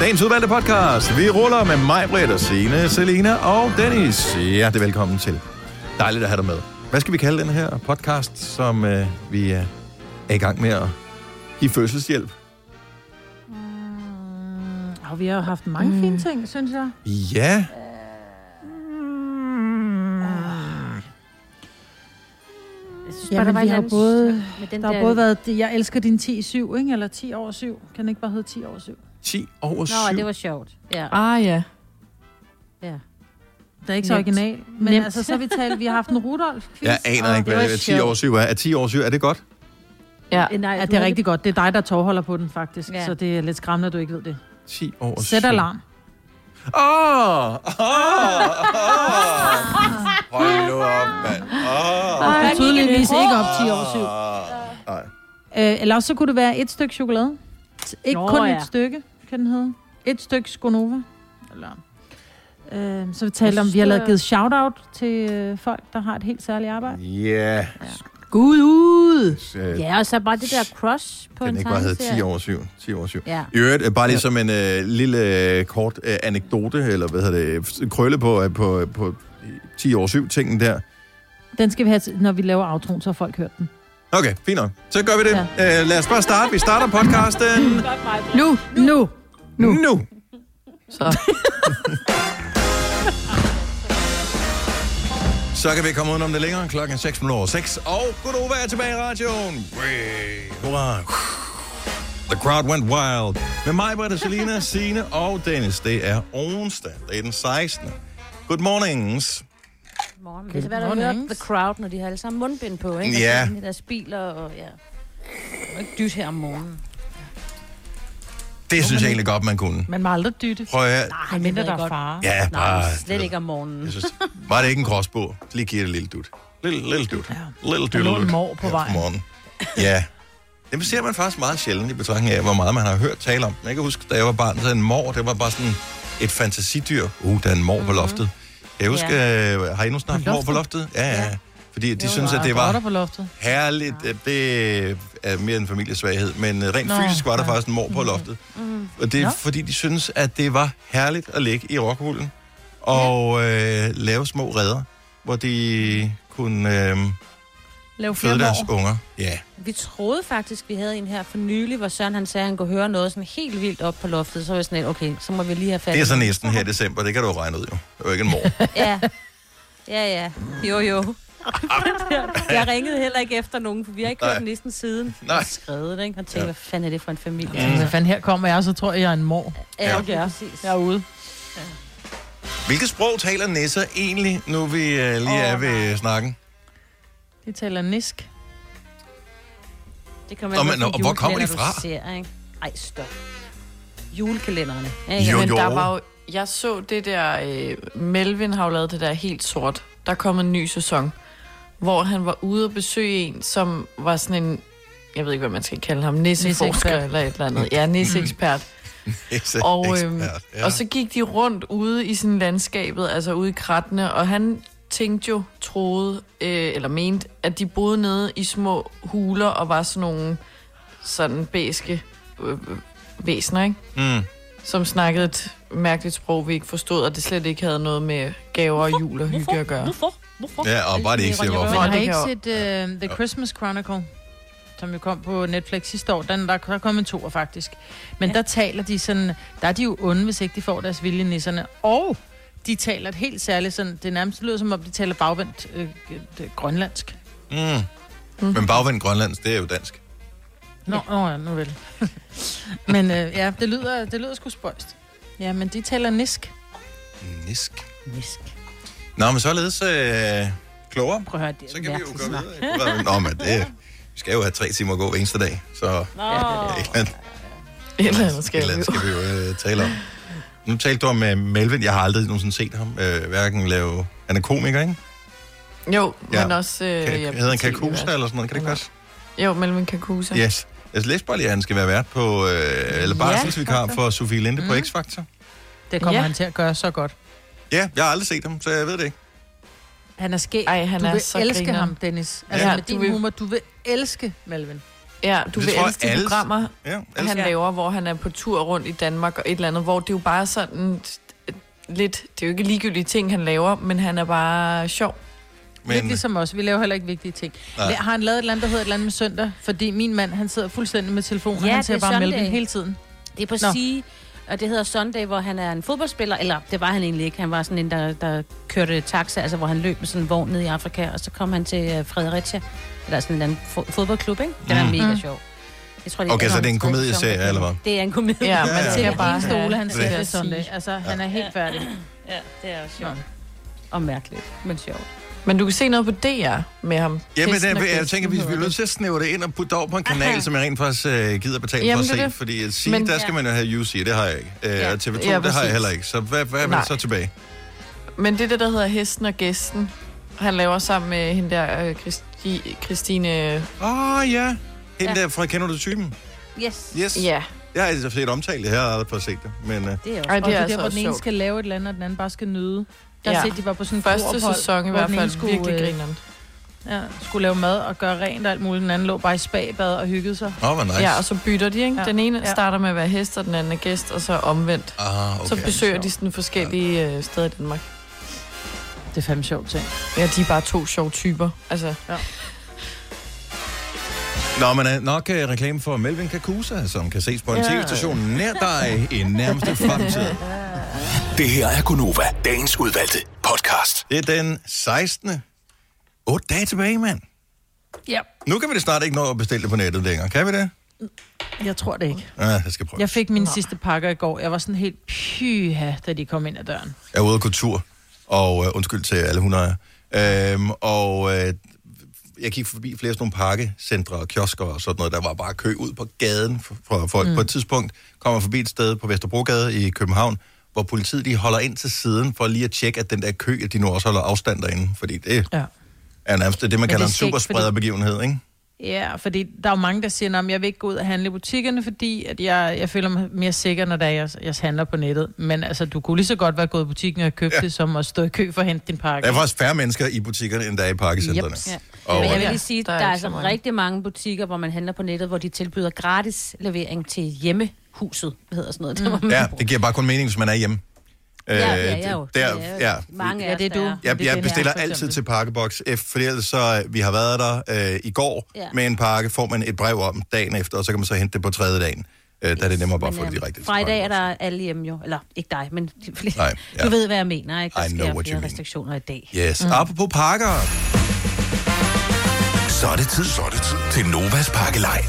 Dagens udvalgte podcast. Vi ruller med mig, Britt og Signe, Selina og Dennis. Hjertelig velkommen til. Dejligt at have dig med. Hvad skal vi kalde den her podcast, som øh, vi øh, er i gang med at give fødselshjælp? Og vi har jo haft mange mm. fine ting, synes jeg. Ja. Mm. Ah. Jeg synes Ja, men vi har både, med den der har både været, det, jeg elsker din 10-7, ikke? Eller 10 over 7. Kan den ikke bare hedde 10 over 7? 10 over 7. Nå, det var sjovt. Ja, Ah ja. ja. Det er ikke så Nemt. original. Men Nemt. altså, så har vi talt, vi har haft en Rudolf-quiz. Jeg aner og- ikke, det hvad var 10 over 7 er. Er 10 over 7, er det godt? Ja. Eh, Nej, Ja, du det er havde rigtig godt. Det er dig, der tovholder på den, faktisk. Ja. Så det er lidt skræmmende, at du ikke ved det. 10 over 7. Sæt alarm. Åh! Åh! Hold nu op, mand. Åh! Og Ej, tydeligvis Michael. ikke op 10 over 7. Nej. Øh, eller også så kunne det være et stykke chokolade. T- Ikke Nå, kun ja. et stykke, kan den hedde. Et stykke Skonova. Eller... Øh, så vi talte om, vi har lavet givet shout-out til øh, folk, der har et helt særligt arbejde. Ja. Gud ud. øh, Ja, og så bare det der crush på Kan en den ikke bare hedde 10 tegneserie. over 7? 10 over 7. Ja. I øvrigt, øh, bare lige som en øh, lille øh, kort øh, anekdote, eller hvad hedder det, f- krølle på, øh, på, øh, på 10 over 7 tingen der. Den skal vi have, til- når vi laver outroen, så har folk hørt den. Okay, fint nok. Så gør vi det. Ja. Øh, lad os bare starte. Vi starter podcasten Nu! Nu! nu. nu. Så. Så kan vi komme udenom det længere. Klokken er 6 minutter over 6. Og Godova er tilbage i radioen. Way. Hurra. The crowd went wild. Med mig, Britta, Selina, Signe og Dennis. Det er onsdag. Det er den 16. Good mornings. Morgen. Det er svært at høre Mornings. The Crowd, når de har alle sammen mundbind på, ikke? Og Ja. så inde i deres biler, og ja. Og ikke dyt her om morgenen. Det synes jeg egentlig godt, man kunne. Man må aldrig dytte. Prøv at høre. Ej, mindre ved jeg der er godt. fare. Ja, bare... Nej, slet ikke om morgenen. Jeg synes, var det ikke en gråsbog? Lige giv det et lille dut. Lille, lille dut. Lille dut. lå en mor på vejen. Morgen. Ja. Dem ser man faktisk meget sjældent i betragtning af, hvor meget man har hørt tale om. Jeg kan huske, da jeg var barn, så en mor, det var bare sådan et fantasidyr. Uh, der er en mor på loftet. Jeg husker, ja. har I nu snart mor på loftet? Ja, ja. ja. Fordi de synes, at det var Der på loftet. herligt. at Det er mere en familiesvaghed, men øh, rent Nå, Nå, fysisk var der ja. faktisk en mor på loftet. Mm. Og det er Nå. fordi, de synes, at det var herligt at ligge i rockhullen og øh, lave små redder, hvor de kunne øh, Lav flere føde deres år. unger. Ja. Vi troede faktisk, vi havde en her for nylig, hvor Søren han sagde, at han kunne høre noget sådan helt vildt op på loftet. Så var jeg sådan lidt, okay, så må vi lige have fat i Det er så den. næsten her i december, det kan du jo regne ud jo. Det er jo ikke en mor. Ja, ja, ja. Jo, jo. jeg ringede heller ikke efter nogen, for vi har ikke Nej. hørt næsten siden. Nej. Jeg skrevet det, ikke? Og tænkte, Ja. hvad fanden er det for en familie? Ja, Hvad fanden her kommer jeg, så tror jeg, jeg er en mor. Ja, Ja. okay, præcis. Jeg er ude. Hvilket sprog taler nisser egentlig, nu vi øh, lige oh, er ved nej. snakken? De taler nisk. Det kommer Nå, an på, men- hvilken og hvor kommer de julekalender, du fra? Ser, ikke? Ej, stop. Julekalenderne. Jo, Ikke? Men jo. der var jo... Jeg så det der... Øh, Melvin har jo lavet det der helt sort. Der kom en ny sæson, hvor han var ude og besøge en, som var sådan en... Jeg ved ikke, hvad man skal kalde ham. Nisseforsker Nisseekspert. eller et eller andet. Ja, nisseekspert. Nisse Og, øhm, ekspert, ja. og så gik de rundt ude i sådan landskabet, altså ude i krattene, og han tænkte jo, troede, øh, eller mente, at de boede nede i små huler og var sådan nogle sådan bæske øh, væsener, ikke? Mm. Som snakkede et mærkeligt sprog, vi ikke forstod, og det slet ikke havde noget med gaver og jul og hygge at gøre. Hvorfor? Hvorfor? Altså, Ja, og bare det ikke siger, hvorfor. Men Nå, har det I ikke kan set uh, The Christmas Chronicle, som jo kom på Netflix sidste år? Den, der, der kom en toer faktisk. Men ja. der taler de sådan, der er de jo onde, hvis ikke de får deres vilje nisserne. Og de taler et helt særligt sådan, det nærmest lyder som om, de taler bagvendt øh, det, grønlandsk. Mm. Mm. Men bagvendt Grønlands, det er jo dansk. Nå, nå ja, nu vel. men øh, ja, det lyder, det lyder sgu spøjst. Ja, men de taler nisk. Nisk. Nisk. Nå, men således øh, klogere. Prøv at høre, det er Så kan vi jo mærkeligt gå snak. videre. Nå, men det, vi skal jo have tre timer at gå hver eneste dag, så Nå, et eller andet, Et eller andet et skal eller jeg andet skal vi jo øh, tale om. Nu talte du om øh, Melvin. Jeg har aldrig nogensinde set ham. Øh, hverken lave... Han er komiker, ikke? Jo, Ja. men også... Øh, Kan, ja, hedder han TV-vært. Kakusa eller sådan noget? Kan det ikke Eller- passe? Jo, Melvin Kakusa. Yes. Jeg læste bare lige, at han skal være vært på... Øh, eller barselsvikar X-Factor. for Sofie Linde mm. på Mm. X-Factor. Det kommer ja. Mhm. Ja. han til at gøre så godt. Ja, jeg har aldrig set ham, så jeg ved det ikke. Han er skæg. Ej, han du er vil så elske grineren. ham, Dennis. Altså ja, Ja, med du din vil... vil- humor, du vil elske Melvin. Ja, du Det vil tror jeg, elske de alle- programmer, Ja, han altså, Ja. laver, hvor han er på tur rundt i Danmark og et eller andet, hvor det er jo bare sådan øh, lidt, det er jo ikke ligegyldige ting, han laver, men han er bare sjov. Men... Lidt men ligesom os. Vi laver heller ikke vigtige ting. Nej. Nej. Har han lavet et eller andet, der hedder et eller andet med søndag? Fordi min mand, han sidder fuldstændig med telefonen, Ja, ja, han det ser er bare Sunday. mælken hele tiden. Det er på Nå. sige, og det hedder Sunday, hvor han er en fodboldspiller, eller det var han egentlig ikke. Han var sådan en, der, der kørte taxa, altså hvor han løb med sådan en vogn ned i Afrika, og så kom han til øh, Fredericia, eller sådan en eller anden fo- fodboldklub, ikke? Den er Mm. mega Mm. sjov. Jeg tror, Okay, så en det er en tredje komedieserie, sæson, der eller hvad? kommer. Det er en komedie. Ja, man ja. skal Til kan bare bare en stole, han det sidder vil ved jeg Sunday. sige. Altså, han er helt færdig. ja, det er også Nå. sjovt. Og mærkeligt, men sjovt. Men du kan se noget på DR med ham. Jamen, Kristen der, og jeg Kirsten tænker, vi hedder bliver nødt til at snæve det ind og putte det over på en kanal, Aha. som jeg rent faktisk øh, gider betale Jamen, for at det er se. det. Fordi at sige, Men- der skal man jo have UC, det har jeg ikke. Øh, Ja. og TV2, Ja, det har jeg præcis. heller ikke. Så hvad, hvad er man Nej. så tilbage? det. Men det der, der hedder Hesten og Gæsten, han laver sammen med hende der, øh, Christi, Christine... Åh, oh, ja. Hende Ja. der fra Kender du typen? Yes, Yes. Ja, Jeg har altså set omtalt det her, og aldrig fået set det. Men øh, det er også Ej, Og det er altså der, hvor den også ene sjovt. skal lave et eller andet, og den anden bare skal nyde. Der Ja. ja. set, de var på sådan en Første kroophold, sæson i hvor hvert den ene fald skulle, virkelig øh, grineren. Ja, skulle lave mad og gøre rent og alt muligt. Den anden lå bare i spabad og hyggede sig. åh, oh, hvor nice. Ja, og så bytter de, ikke? Ja. Den ene Ja. starter med at være hest, og den anden er gæst, og så omvendt. Ah, okay. Så besøger de sådan forskellige øh, steder i Danmark. Det er fandme sjovt ting. Ja, de er bare to sjove typer. Altså, Nå, men øh, nok øh, reklame for Melvin Kakusa, som kan ses på en Ja. tv-station nær dig i nærmeste fremtid. Det her er Gunova, dagens udvalgte podcast. Det er den 16. 8 dage tilbage, mand. Ja. Nu kan vi det snart ikke nå at bestille det på nettet længere. Kan vi det? Jeg tror det ikke. Ja, jeg skal prøve. Jeg fik min sidste pakker i går. Jeg var sådan helt pyha, da de kom ind ad døren. Jeg er ude at gå tur, og øh, undskyld til alle hundeejere. Øhm, og øh, jeg gik forbi flere sådan nogle pakkecentre og kiosker og sådan noget. Der var bare kø ud på gaden for, for folk. Mm. På et tidspunkt kommer jeg forbi et sted på Vesterbrogade i København, hvor politiet de holder ind til siden for lige at tjekke, at den der kø, at de nu også holder afstand derinde. Fordi det Ja. er nærmest det, man det er kalder en sikkert, fordi- supersprederbegivenhed, ikke? Ja, fordi der er jo mange, der siger, at jeg vil ikke gå ud og handle i butikkerne, fordi at jeg, jeg føler mig mere sikker, når det er, jeg, jeg handler på nettet. Men altså, du kunne lige så godt være gået i butikken og købt Ja. ja. det, som at stå i kø for at hente din pakke. Der er faktisk færre mennesker i butikkerne, end der er i pakkecentrene. Jeps. Ja. Og, øh, Men jeg vil Ja, lige sige, der der er er, ikke så altså mange. rigtig mange butikker, hvor man handler på nettet, hvor de tilbyder gratis levering til hjemmehuset, hedder sådan noget. Mm. Det, ja, det giver bare kun mening, hvis man er hjemme. ja, Øh, ja, ja, jo. Der, Det er jo ja. Mange Ja, af det er os, der du. Jeg, Det er jeg den her, bestiller for altid eksempel. til pakkeboks, F, fordi ellers så, øh, vi har været der øh, i går Ja. med en pakke, får man et brev om dagen efter, og så kan man så hente det på tredje dagen. Øh, der er det nemmere bare at få Men, det øhm, direkte. til Fredag er pakkeboks. der alle hjemme jo. Eller ikke dig, men de fleste. Nej, ja. Du ved, hvad jeg mener, ikke? Der I know sker what you flere mean. restriktioner i dag. Yes. Mm. Apropos pakker. Så er det tid, så er det tid til Novas pakkelej.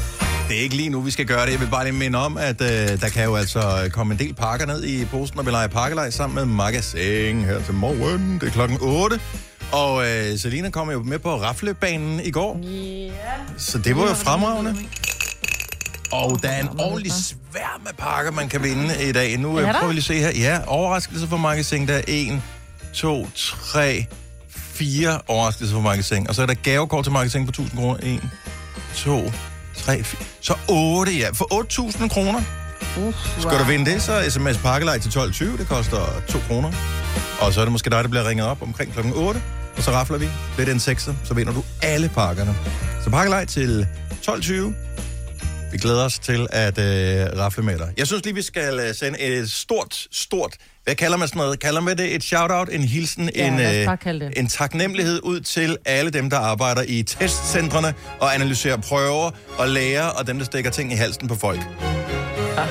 Det er ikke lige nu, vi skal gøre det. Jeg vil bare lige minde om, at øh, der kan jo altså komme en del pakker ned i posten, når vi leger pakkelej sammen med Magasin her til morgen. Det er klokken 8. Og øh, Selina kom jo med på raflebanen i går. Yeah. Så det var jo fremragende. Og der er en ordentlig sværm af pakker, man kan vinde i dag. Nu øh, Er der? prøver vi lige at se her. Ja, overraskelse for Magasin. Der er 1, 2, 3, 4 overraskelser for Magasin. Og så er der gavekort til Magasin på 1000 kroner. 1, 2, 3, 4. Så 8, ja. For 8000 kroner. Skal du vinde det, så sms pakkelej til 12.20. Det koster 2 kroner. Og så er det måske dig, der bliver ringet op omkring klokken 8. Og så rafler vi lidt en sekser, så vinder du alle pakkerne. Så pakkelej til 12.20. Vi glæder os til at øh, rafle med dig. Jeg synes lige, vi skal øh, sende et stort, stort... Hvad kalder man sådan noget? Kalder man det et shout-out, en hilsen, Ja, en, lad os øh, bare kalde det. en taknemmelighed ud til alle dem, der arbejder i testcentrene og analyserer prøver og lærer og dem, der stikker ting i halsen på folk. Ja.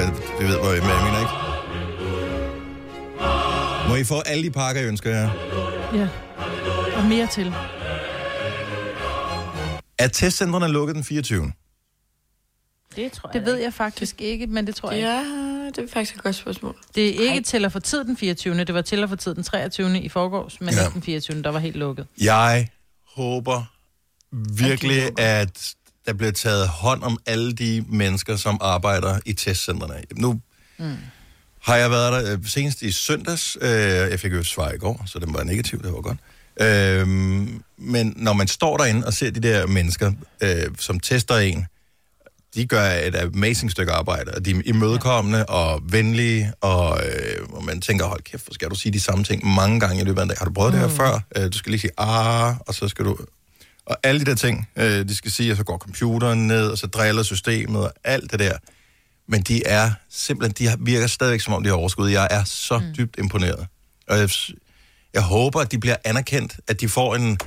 Øh, det ved, hvor jeg hvad jeg mener, ikke? Må I få alle de pakker, jeg ønsker jer? Ja. Og mere til. Er testcentrene lukket den 24. Det tror jeg Det ved jeg faktisk ikke, men det tror jeg ikke. ja, det er faktisk et godt spørgsmål. Det er ikke til at få tid den 24. Det var til at få tid den 23. i forgårs, men Ja. ikke den 24. der var helt lukket. Jeg håber virkelig, at der bliver taget hånd om alle de mennesker, som arbejder i testcentrene. Nu Mm. har jeg været der øh, senest i søndags. Øh, jeg fik jo et svar i går, så den var negativ, det var godt. Øh, men når man står derinde og ser de der mennesker, øh, som tester en, de gør et amazing stykke arbejde, og de er imødekommende og venlige, og, øh, og man tænker, hold kæft, hvor skal du sige de samme ting mange gange i løbet af en dag? Har du prøvet mm. det her før? Øh, du skal lige sige, ah, og så skal du... og alle de der ting, øh, de skal sige, og så går computeren ned, og så driller systemet og alt det der. Men de er simpelthen, de har- virker stadigvæk som om de har overskud. Jeg er så mm. dybt imponeret. Og jeg, s- jeg håber, at de bliver anerkendt, at de får en,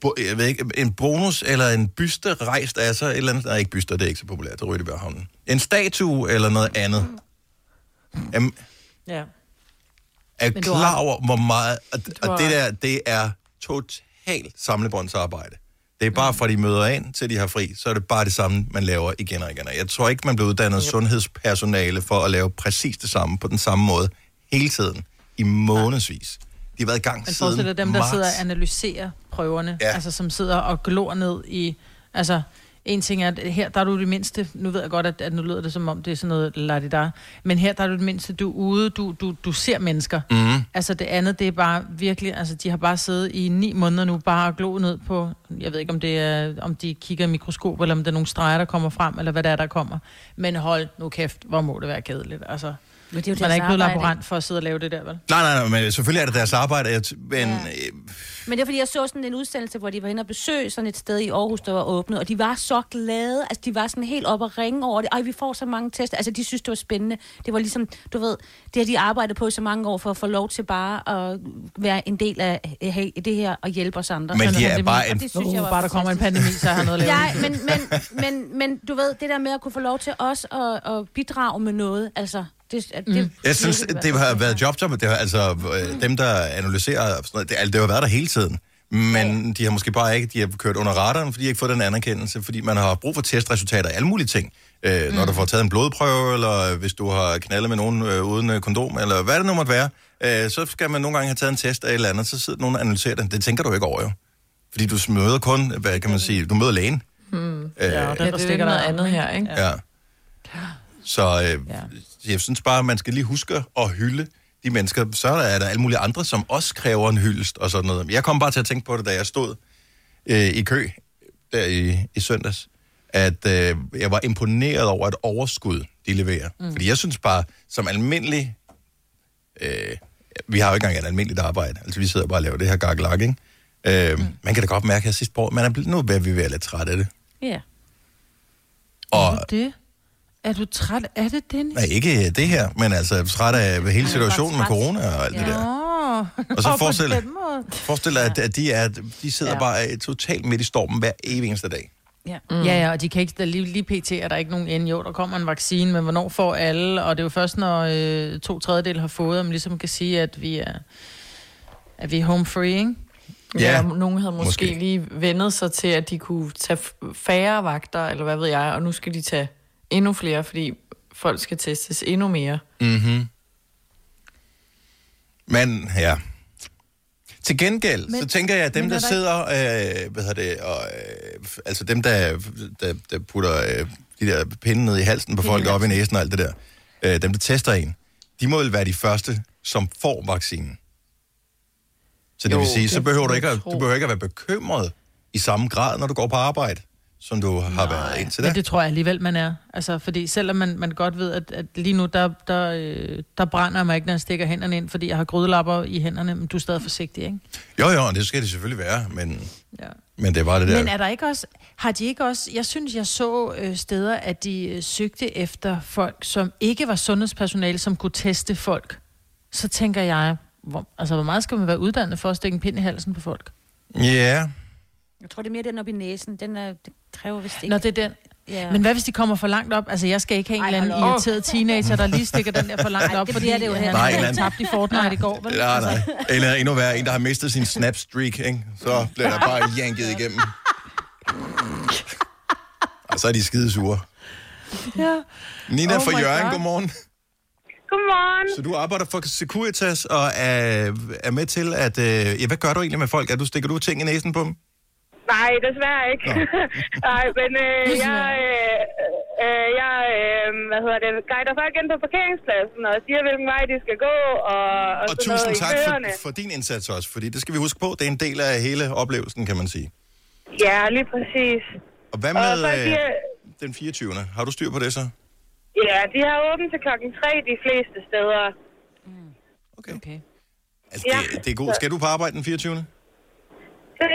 bo- jeg ved ikke, en bonus eller en byste rejst af sig. Et eller andet, nej, ikke byster, det er ikke så populært, det ryger de bare havnen. En statue eller noget andet. Jamen, Ja. er Men du har- klar over, hvor meget... Og, har- og det der, det er totalt samlebåndsarbejde. Det er bare fra de møder ind, til de har fri, så er det bare det samme, man laver igen og igen. Og Jeg tror ikke, man bliver uddannet sundhedspersonale for at lave præcis det samme på den samme måde hele tiden i månedsvis. De har været i gang Men siden forestil dig dem, der marts. sidder og analyserer prøverne, Ja. ja. altså som sidder og glor ned i... Altså, en ting er, at her der er du det mindste, nu ved jeg godt, at, at nu lyder det som om, det er sådan noget ladidar, men her der er du det mindste, du er ude, du, du, du ser mennesker. Mm-hmm. Mm. Altså det andet, det er bare virkelig, altså de har bare siddet i ni måneder nu, bare og gloet ned på, jeg ved ikke om det er, om de kigger i mikroskop, eller om der er nogle streger, der kommer frem, eller hvad der er, der kommer. Men hold nu kæft, hvor må det være kedeligt, altså. Men det er jo Man er deres ikke blevet arbejde. laborant for at sidde og lave det der, vel? Nej, nej, nej, men selvfølgelig er det deres arbejde, jeg t- men øh, ja. Ja. Men det er fordi, jeg så sådan en udsendelse, hvor de var henne og besøge sådan et sted i Aarhus, der var åbnet, og de var så glade, altså de var sådan helt oppe og ringe over det. Ej, vi får så mange tester. Altså, de synes, det var spændende. Det var ligesom, du ved, det har de arbejdet på i så mange år for at få lov til bare at være en del af øh, hey, det her og hjælpe os andre. men de det er er bare min- en det Synes synes uh, jeg var bare der kommer en pandemi, så har jeg noget at lave. Ja, men, men, men, men du ved, det der med at kunne få lov til os at, at bidrage med noget, altså... Det, at det, Jeg synes, det har været jobjob, det har, altså øh, dem, der analyserer, og sådan noget, det, altså, det har været der hele tiden. Men ja. de har måske bare ikke, de har kørt under radaren, fordi de ikke fået den anerkendelse, fordi man har brug for testresultater af alle mulige ting. Øh, mm. Når du får taget en blodprøve, eller hvis du har knaldet med nogen øh, uden øh, kondom, eller hvad det nu måtte være, øh, så skal man nogle gange have taget en test af et eller andet, så sidder nogen og analyserer den. Det tænker du ikke over, jo. Fordi du møder kun, hvad kan man sige, du møder lægen. Hmm. Øh, ja, Ja, det er lidt noget andet her, ikke? Ja. Så øh, ja. Ja. jeg synes bare, man skal lige huske at hylde de mennesker. Så er der alle mulige andre, som også kræver en hyldest og sådan noget. Jeg kom bare til at tænke på det, da jeg stod øh, i kø der i, i søndags, at øh, jeg var imponeret over et overskud, de leverer. Mm. Fordi jeg synes bare, som almindelig... Øh, vi har jo ikke engang et almindeligt arbejde. Altså, vi sidder bare og laver det her gakkelak, ikke? Øh, mm. Man kan da godt mærke her sidste år, man er blevet, nu er vi ved at lidt træt af det. Ja. Og, Er du det? Er du træt af det, Dennis? Nej, ikke øh, det her, men altså træt af hele situationen med træt. corona og alt ja. det Ja. der. Åh, Og så Nå, på forestil dig- den måde. Forestil dig, at, at de, er, de sidder ja. Ja. bare øh, totalt midt i stormen hver evig eneste dag. Ja. Mm. Ja, ja, og de kan ikke, der lige, lige pt. er der ikke nogen ende. Jo, der kommer en vaccine, men hvornår får alle? Og det er jo først, når øh, to tredjedel har fået, at man ligesom kan sige, at vi er, at vi er home free, ikke? Ja, Ja, ja nogen havde måske, måske. måske lige vendet sig til, at de kunne tage f- færre vagter, eller hvad ved jeg, og nu skal de tage endnu flere, fordi folk skal testes endnu mere. Mm-hmm. Men ja. Til gengæld, men, Men- så tænker jeg, at dem, men der er der sidder, øh, hvad hedder det, og, øh, f- altså dem, der, der, der putter øh, de der pinde ned i halsen på folk, op i næsen og alt det der, øh, dem, der tester en, de må vel være de første, som får vaccinen. Så det jo, vil sige, så behøver du, ikke at, du behøver ikke at være bekymret i samme grad, når du går på arbejde, som du har Nej, været indtil da. Men det tror jeg alligevel, man er. Altså, fordi selvom man, man godt ved, at, at lige nu, der, der, øh, der brænder mig ikke, når jeg stikker hænderne ind, fordi jeg har grydelapper i hænderne, men du er stadig forsigtig, ikke? Jo, jo, og det skal det selvfølgelig være, men, Ja. men det er bare det der. Men er der ikke også, har de ikke også, jeg synes, jeg så øh, steder, at de øh, søgte efter folk, som ikke var sundhedspersonale, som kunne teste folk. Så tænker jeg, hvor, altså hvor meget skal man være uddannet for at stikke en pind i halsen på folk? Ja, Jeg tror, det er mere den op i næsen. Den er, det kræver vist ikke. Nå, det er den. ja. Men hvad hvis de kommer for langt op? Altså, jeg skal ikke have en Ej, eller anden hold op. irriteret teenager, der lige stikker den der for langt Ej, op, det fordi bliver det jo han heller ikke. Nej, har men- tabt i Fortnite i går, vel? Nej, nej. Eller endnu værre, en, der har mistet sin snapstreak, ikke? Så bliver der bare janket igennem. Og så er de skide sure. Ja. Nina oh Oh fra my Jørgen, God. godmorgen. Godmorgen. Så du arbejder for Securitas og er, er med til at... Øh, ja, hvad gør du egentlig med folk? Er du, stikker du ting i næsen på dem? Nej, desværre ikke. Nej, men øh, jeg, øh, øh, jeg øh, hvad hedder det, guider folk ind på parkeringspladsen og siger, hvilken vej de skal gå. Og, og, Og sådan tusind noget i tak køerne. for, for din indsats også, fordi det skal vi huske på. Det er en del af hele oplevelsen, kan man sige. Ja, lige præcis. Og hvad Og med folk, de, øh, er- den 24. Har du styr på det så? ja, de har åbent til klokken 3 de fleste steder. Okay. Okay. Altså, det, det er godt. Skal du på arbejde den 24.? Det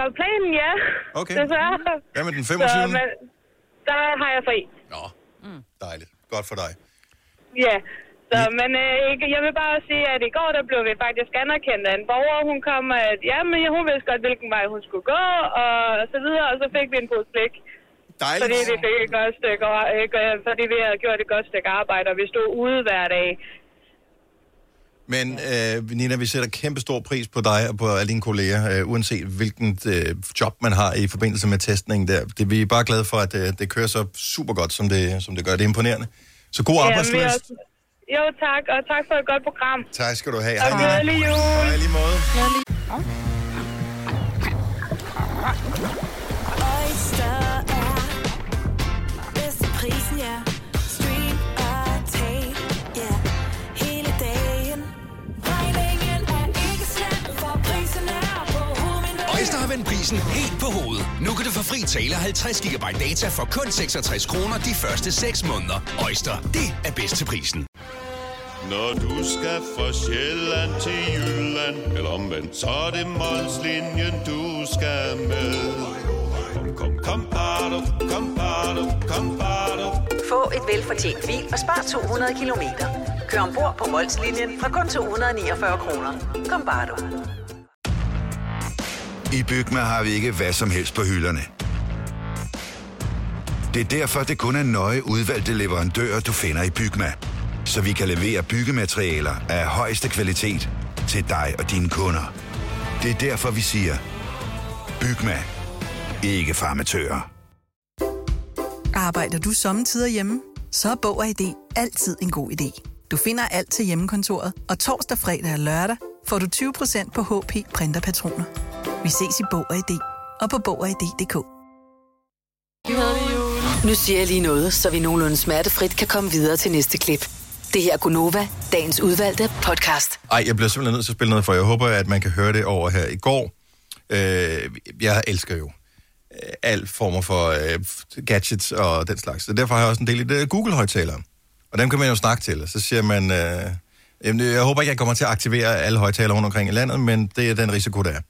var planen, ja. Okay. Desværre. Hvad med den Så, 25. men, der har jeg fri. Nå, dejligt. Godt for dig. Ja, så, men øh, ikke- jeg vil bare sige, at i går der blev vi faktisk anerkendt af en borger. Hun kom, at jamen, hun vidste godt, hvilken vej hun skulle gå, og så videre, og så fik vi en pose blik. Dejligt. Fordi vi fik et godt stykke, ar- ikke, øh, fordi vi havde gjort et godt stykke arbejde, og vi stod ude hver dag. Men øh, Nina, vi sætter kæmpe stor pris på dig og på alle dine kolleger, øh, uanset hvilken øh, job man har i forbindelse med testningen der. Det, vi er bare glade for, at øh, det kører så super godt, som det, som det gør. Det er imponerende. Så god vi er arbejdsløs. også- Jo, tak, og tak for et godt program. Tak skal du have. Og Hej, Nina. glædelig jul. Hej, lige måde. Oyster er bedst til prisen, ja. Stream og tag, ja. Hele dagen. Regningen er ikke slem, for prisen er på hovedet. Øjster har vendt prisen helt på hovedet. Nu kan du få fri tale 50 GB data for kun 66 kroner de første 6 måneder. Øjster, det er bedst til prisen. Når du skal fra Sjælland til Jylland Eller omvendt, så er det Molslinjen, du skal med Kom, kom, kom, bado, kom, bado, kom, bado. Få et velfortjent bil og spar 200 kilometer. Kør ombord på Molslinjen fra kun 249 kroner. Kom bare du. I Bygma har vi ikke hvad som helst på hylderne. Det er derfor, det kun er nøje udvalgte leverandører, du finder i Bygma. Så vi kan levere byggematerialer af højeste kvalitet til dig og dine kunder. Det er derfor, vi siger, Bygma. Ikke farmatører. Arbejder du sommetider hjemme? Så er Bog og ID altid en god idé. Du finder alt til hjemmekontoret, og torsdag, fredag og lørdag får du 20% på HP Printerpatroner. Vi ses i Bog og ID og på Bog og ID.dk. Nu siger jeg lige noget, så vi nogenlunde smertefrit kan komme videre til næste klip. Det her er Gunova, dagens udvalgte podcast. Ej, jeg bliver simpelthen nødt til at spille noget for. jer. Jeg håber, at man kan høre det over her i går. Øh, jeg elsker jo øh, alt former for øh, gadgets og den slags. Så derfor har jeg også en del i det Google-højtalere. Og dem kan man jo snakke til. Og så siger man... Øh, jamen, jeg håber ikke, jeg kommer til at aktivere alle højtalere rundt omkring i landet, men det er den risiko, der er.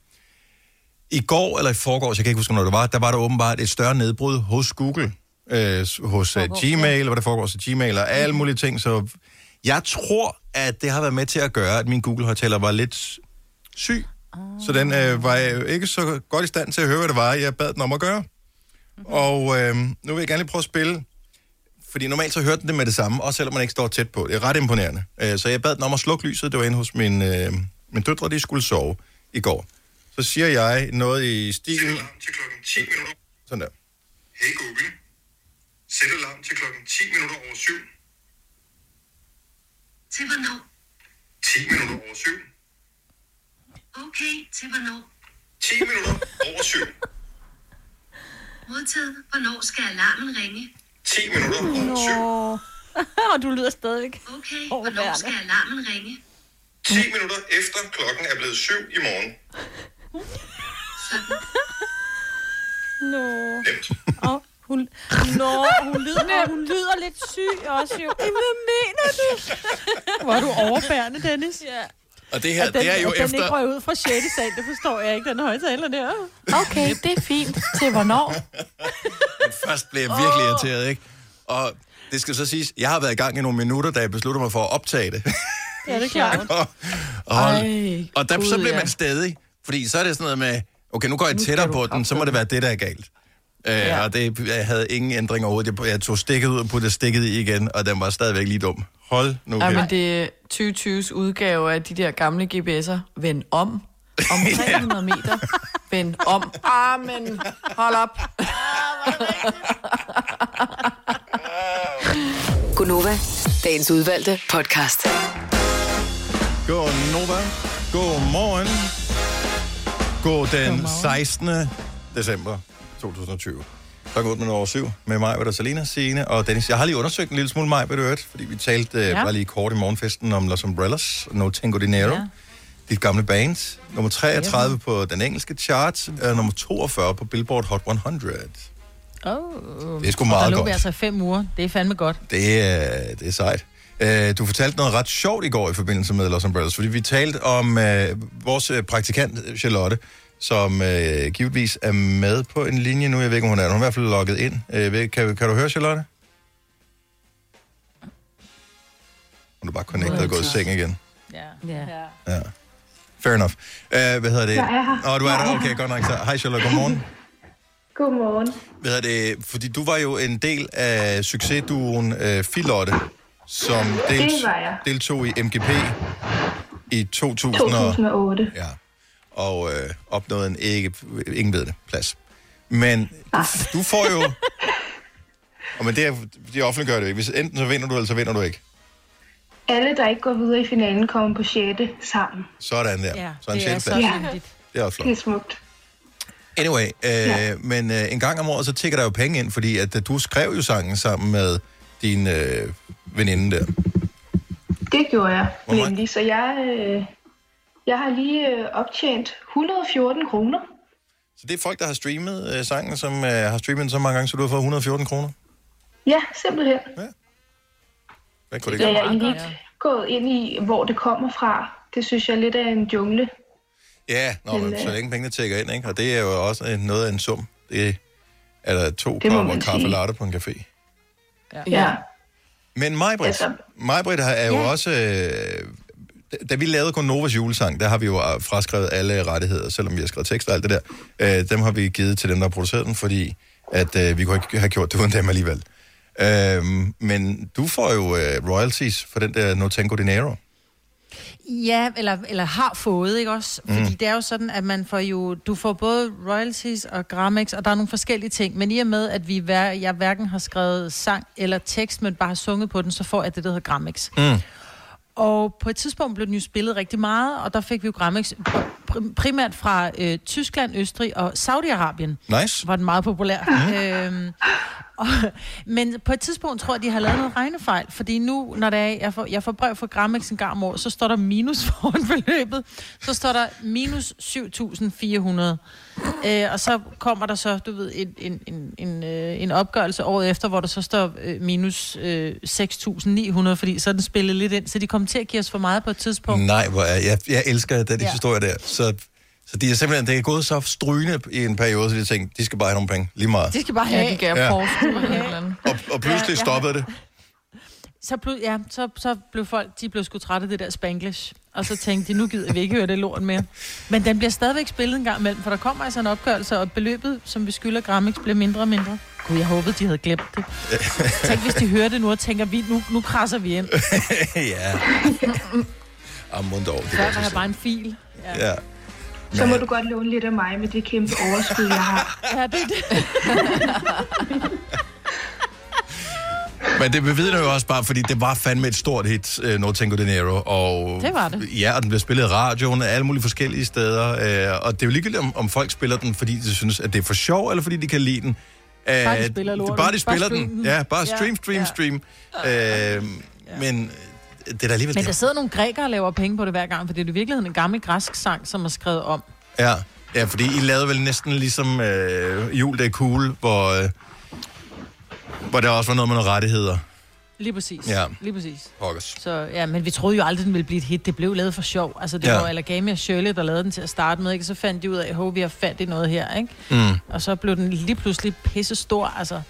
I går, eller i forgårs, jeg kan ikke huske, når det var, der var der åbenbart et større nedbrud hos Google, øh, hos uh, Gmail, hvor der foregår så Gmail og alle mulige ting. Så jeg tror, at det har været med til at gøre, at min Google-højtaler var lidt syg. Så den øh, var jeg ikke så godt i stand til at høre, hvad det var, jeg bad den om at gøre. Og øh, nu vil jeg gerne lige prøve at spille, fordi normalt så hørte den det med det samme, også selvom man ikke står tæt på. Det er ret imponerende. Øh, så jeg bad den om at slukke lyset, det var inde hos min, øh, min døtre, de skulle sove i går. Så siger jeg noget i stilen... til klokken 10 minutter. Sådan der. Hey Google, sæt alarm til klokken 10 minutter over 7. Til hvornår? 10 minutter over 7. Okay, til hvornår? 10 minutter over 7. Modtaget. Hvornår skal alarmen ringe? 10 minutter over 7. Nå. Og du lyder stadigvæk. Okay, hvornår skal alarmen ringe? Mm. 10 minutter efter klokken er blevet 7 i morgen. Nå. Og hun, nå, hun lyder, og hun lyder lidt syg også jo. Ej, Hvad mener du? Hvor er du overbærende, Dennis. Ja. Og det her, At den, det er jo at den ikke efter... røg ud fra 6. sal, det forstår jeg ikke, den højtaler der. Okay, det er fint. Til hvornår? Først blev jeg virkelig irriteret, ikke? Og det skal så siges, jeg har været i gang i nogle minutter, da jeg besluttede mig for at optage det. Ja, det er klart. og, og, Ej, og der, så Gud, bliver ja. man stedig, fordi så er det sådan noget med, okay, nu går jeg tættere på den, så må det være det, der er galt. Øh, ja. Og det, jeg havde ingen ændringer overhovedet. Jeg, jeg tog stikket ud og puttede stikket i igen, og den var stadigvæk lige dum. Hold nu Okay. Jamen, kæft. det er 2020's udgave af de der gamle GPS'er. Vend om. Om 300 meter. Vend om. Ah, men hold op. Gunova, dagens udvalgte podcast. God Nova. God morgen. God den 16. december 2020. Klokken 8 minutter over syv med mig, og Salina, Signe og Dennis. Jeg har lige undersøgt en lille smule mig, ved du hørt, fordi vi talte ja. Ja. bare lige kort i morgenfesten om Los Umbrellas, No Tengo Dinero, ja. dit gamle band. Nummer 33 ja. på den engelske chart, og nummer 42 på Billboard Hot 100. Oh. Det er sgu Og meget der lå godt. vi altså i fem uger. Det er fandme godt. Det er, det er sejt. Øh, Du fortalte noget ret sjovt i går i forbindelse med Los Umbrellas, fordi vi talte om øh, vores øh, praktikant øh, Charlotte, som øh, givetvis er med på en linje nu. Jeg ved ikke, om hun er. Hun er i hvert fald logget ind. Øh, ved- kan, kan du høre, Charlotte? Hun er bare connectet og gået i seng igen. Ja. ja. Ja. Fair enough. Øh, hvad hedder det? Jeg er her. Nå, du er Jeg der. er her. Okay, godt nok. Så. Hej, Charlotte. Godmorgen. Godmorgen. Hvad hedder det? Fordi du var jo en del af succesduoen øh, Filotte, som Det del, var jeg. deltog i MGP i 2000 og, 2008. Ja. og øh, opnåede en ikke, ingen ved det, plads. Men du får jo... Og men det, er, de offentliggør det jo ikke. Hvis enten så vinder du, eller så vinder du ikke. Alle, der ikke går videre i finalen, kommer på 6. sammen. Sådan der. så en det er sjælplads. så yndigt. Det er også flot. Det er smukt. Anyway, øh, ja. Ja. men øh, en gang om året, så tigger der jo penge ind, fordi at, øh, du skrev jo sangen sammen med din øh, veninde der. Det gjorde jeg Hvor meget? nemlig, så jeg, øh, jeg har lige øh, optjent 114 kroner. Så det er folk, der har streamet øh, sangen, som øh, har streamet den så mange gange, så du har fået 114 kroner. Ja, simpelthen. Hvad kunne Det det ikke er være? jeg egentlig ikke gået ind i, hvor det kommer fra. Det synes jeg er lidt af en jungle. Ja, nå, men, Men, så øh, længe pengene tækker ind, ikke? Og det er jo også øh, noget af en sum. Det er der to Det må kopper man kaffe sige. latte på en café. Ja. Men Majbrit, altså, Majbrit har- er jo ja. også... Øh, da- da vi lavede kun Novas julesang, der har vi jo øh, fraskrevet alle rettigheder, selvom vi har skrevet tekst og alt det der. Øh, dem har vi givet til dem, der har produceret den, fordi at, øh, vi kunne ikke have gjort det uden dem alligevel. Øh, men du får jo øh, royalties for den der No Tango Dinero. Ja, eller, eller har fået, ikke også? Fordi Mm. mm. det er jo sådan, at man får jo, du får både royalties og Gramex, og der er nogle forskellige ting. Men i og med, at vi hver, jeg hverken har skrevet sang eller tekst, men bare har sunget på den, så får jeg det, der hedder Gramex. Mm. Og på et tidspunkt blev den jo spillet rigtig meget, og der fik vi jo Grammix pr- primært fra øh, Tyskland, Østrig og Saudi-Arabien. Nice. Var den meget populær. øhm, og, men på et tidspunkt tror jeg, de har lavet noget regnefejl, fordi nu, når det er, jeg, får, jeg får brev fra Grammix en gang om året, så står der minus foran beløbet. Så står der minus 7.400. Øh, og så kommer der så, du ved, en, en, en, en, øh, en opgørelse året efter, hvor der så står øh, minus øh, 6.900, fordi så er den spillet lidt ind, så de kommer til at give os for meget på et tidspunkt. Nej, hvor er, jeg, jeg elsker den Ja. ja. historie der. Så, så de er simpelthen, det er gået så strygende i en periode, så de tænkte, de skal bare have nogle penge, lige meget. De skal bare have. Ja, de gav Ja. ja. forskud eller et eller andet. Og pludselig Ja, ja. stoppede det. så, blev, ja, så, så blev folk, de blev sgu trætte af det der spanglish. Og så tænkte de, nu gider vi ikke høre det lort mere. Men den bliver stadigvæk spillet en gang imellem, for der kommer altså en opgørelse, og beløbet, som vi skylder Grammix, bliver mindre og mindre. Gud, jeg håbede, de havde glemt det. Tænk, hvis de hører det nu og tænker, vi, nu, nu krasser vi ind. ja. Amundov, det Før er var jeg bare en fil. ja. ja. Så må du godt låne lidt af mig med det kæmpe overskud, jeg har. Ja, det er det. Men det bevidner jo også bare, fordi det var fandme et stort hit, øh, No Tango Dinero. Og, Det var det. Ja, og den blev spillet i radioen og alle mulige forskellige steder. Øh, og det er jo ligegyldigt, om, om folk spiller den, fordi de synes, at det er for sjov, eller fordi de kan lide den. Øh, Bare de spiller lorten. Bare de Bare spiller bare stream den. den. Ja, bare Ja, stream, stream, ja. stream. Øh, Men øh, det er da alligevel... Men der sidder nogle grækere og laver penge på det hver gang, for det er jo i virkeligheden en gammel græsk sang, som er skrevet om. Ja, ja fordi I lavede vel næsten ligesom øh, Jul, det er cool, hvor, øh, hvor der også var noget med nogle rettigheder. Lige præcis. Ja. Lige præcis. Pokkers. Så, ja, men vi troede jo aldrig, den ville blive et hit. Det blev lavet for sjov. Altså, det Ja. ja. var Alagami og Shirley, der lavede den til at starte med, ikke? Så fandt de ud af, at vi har fandt i noget her, ikke? Mm. Og så blev den lige pludselig pisse stor, altså.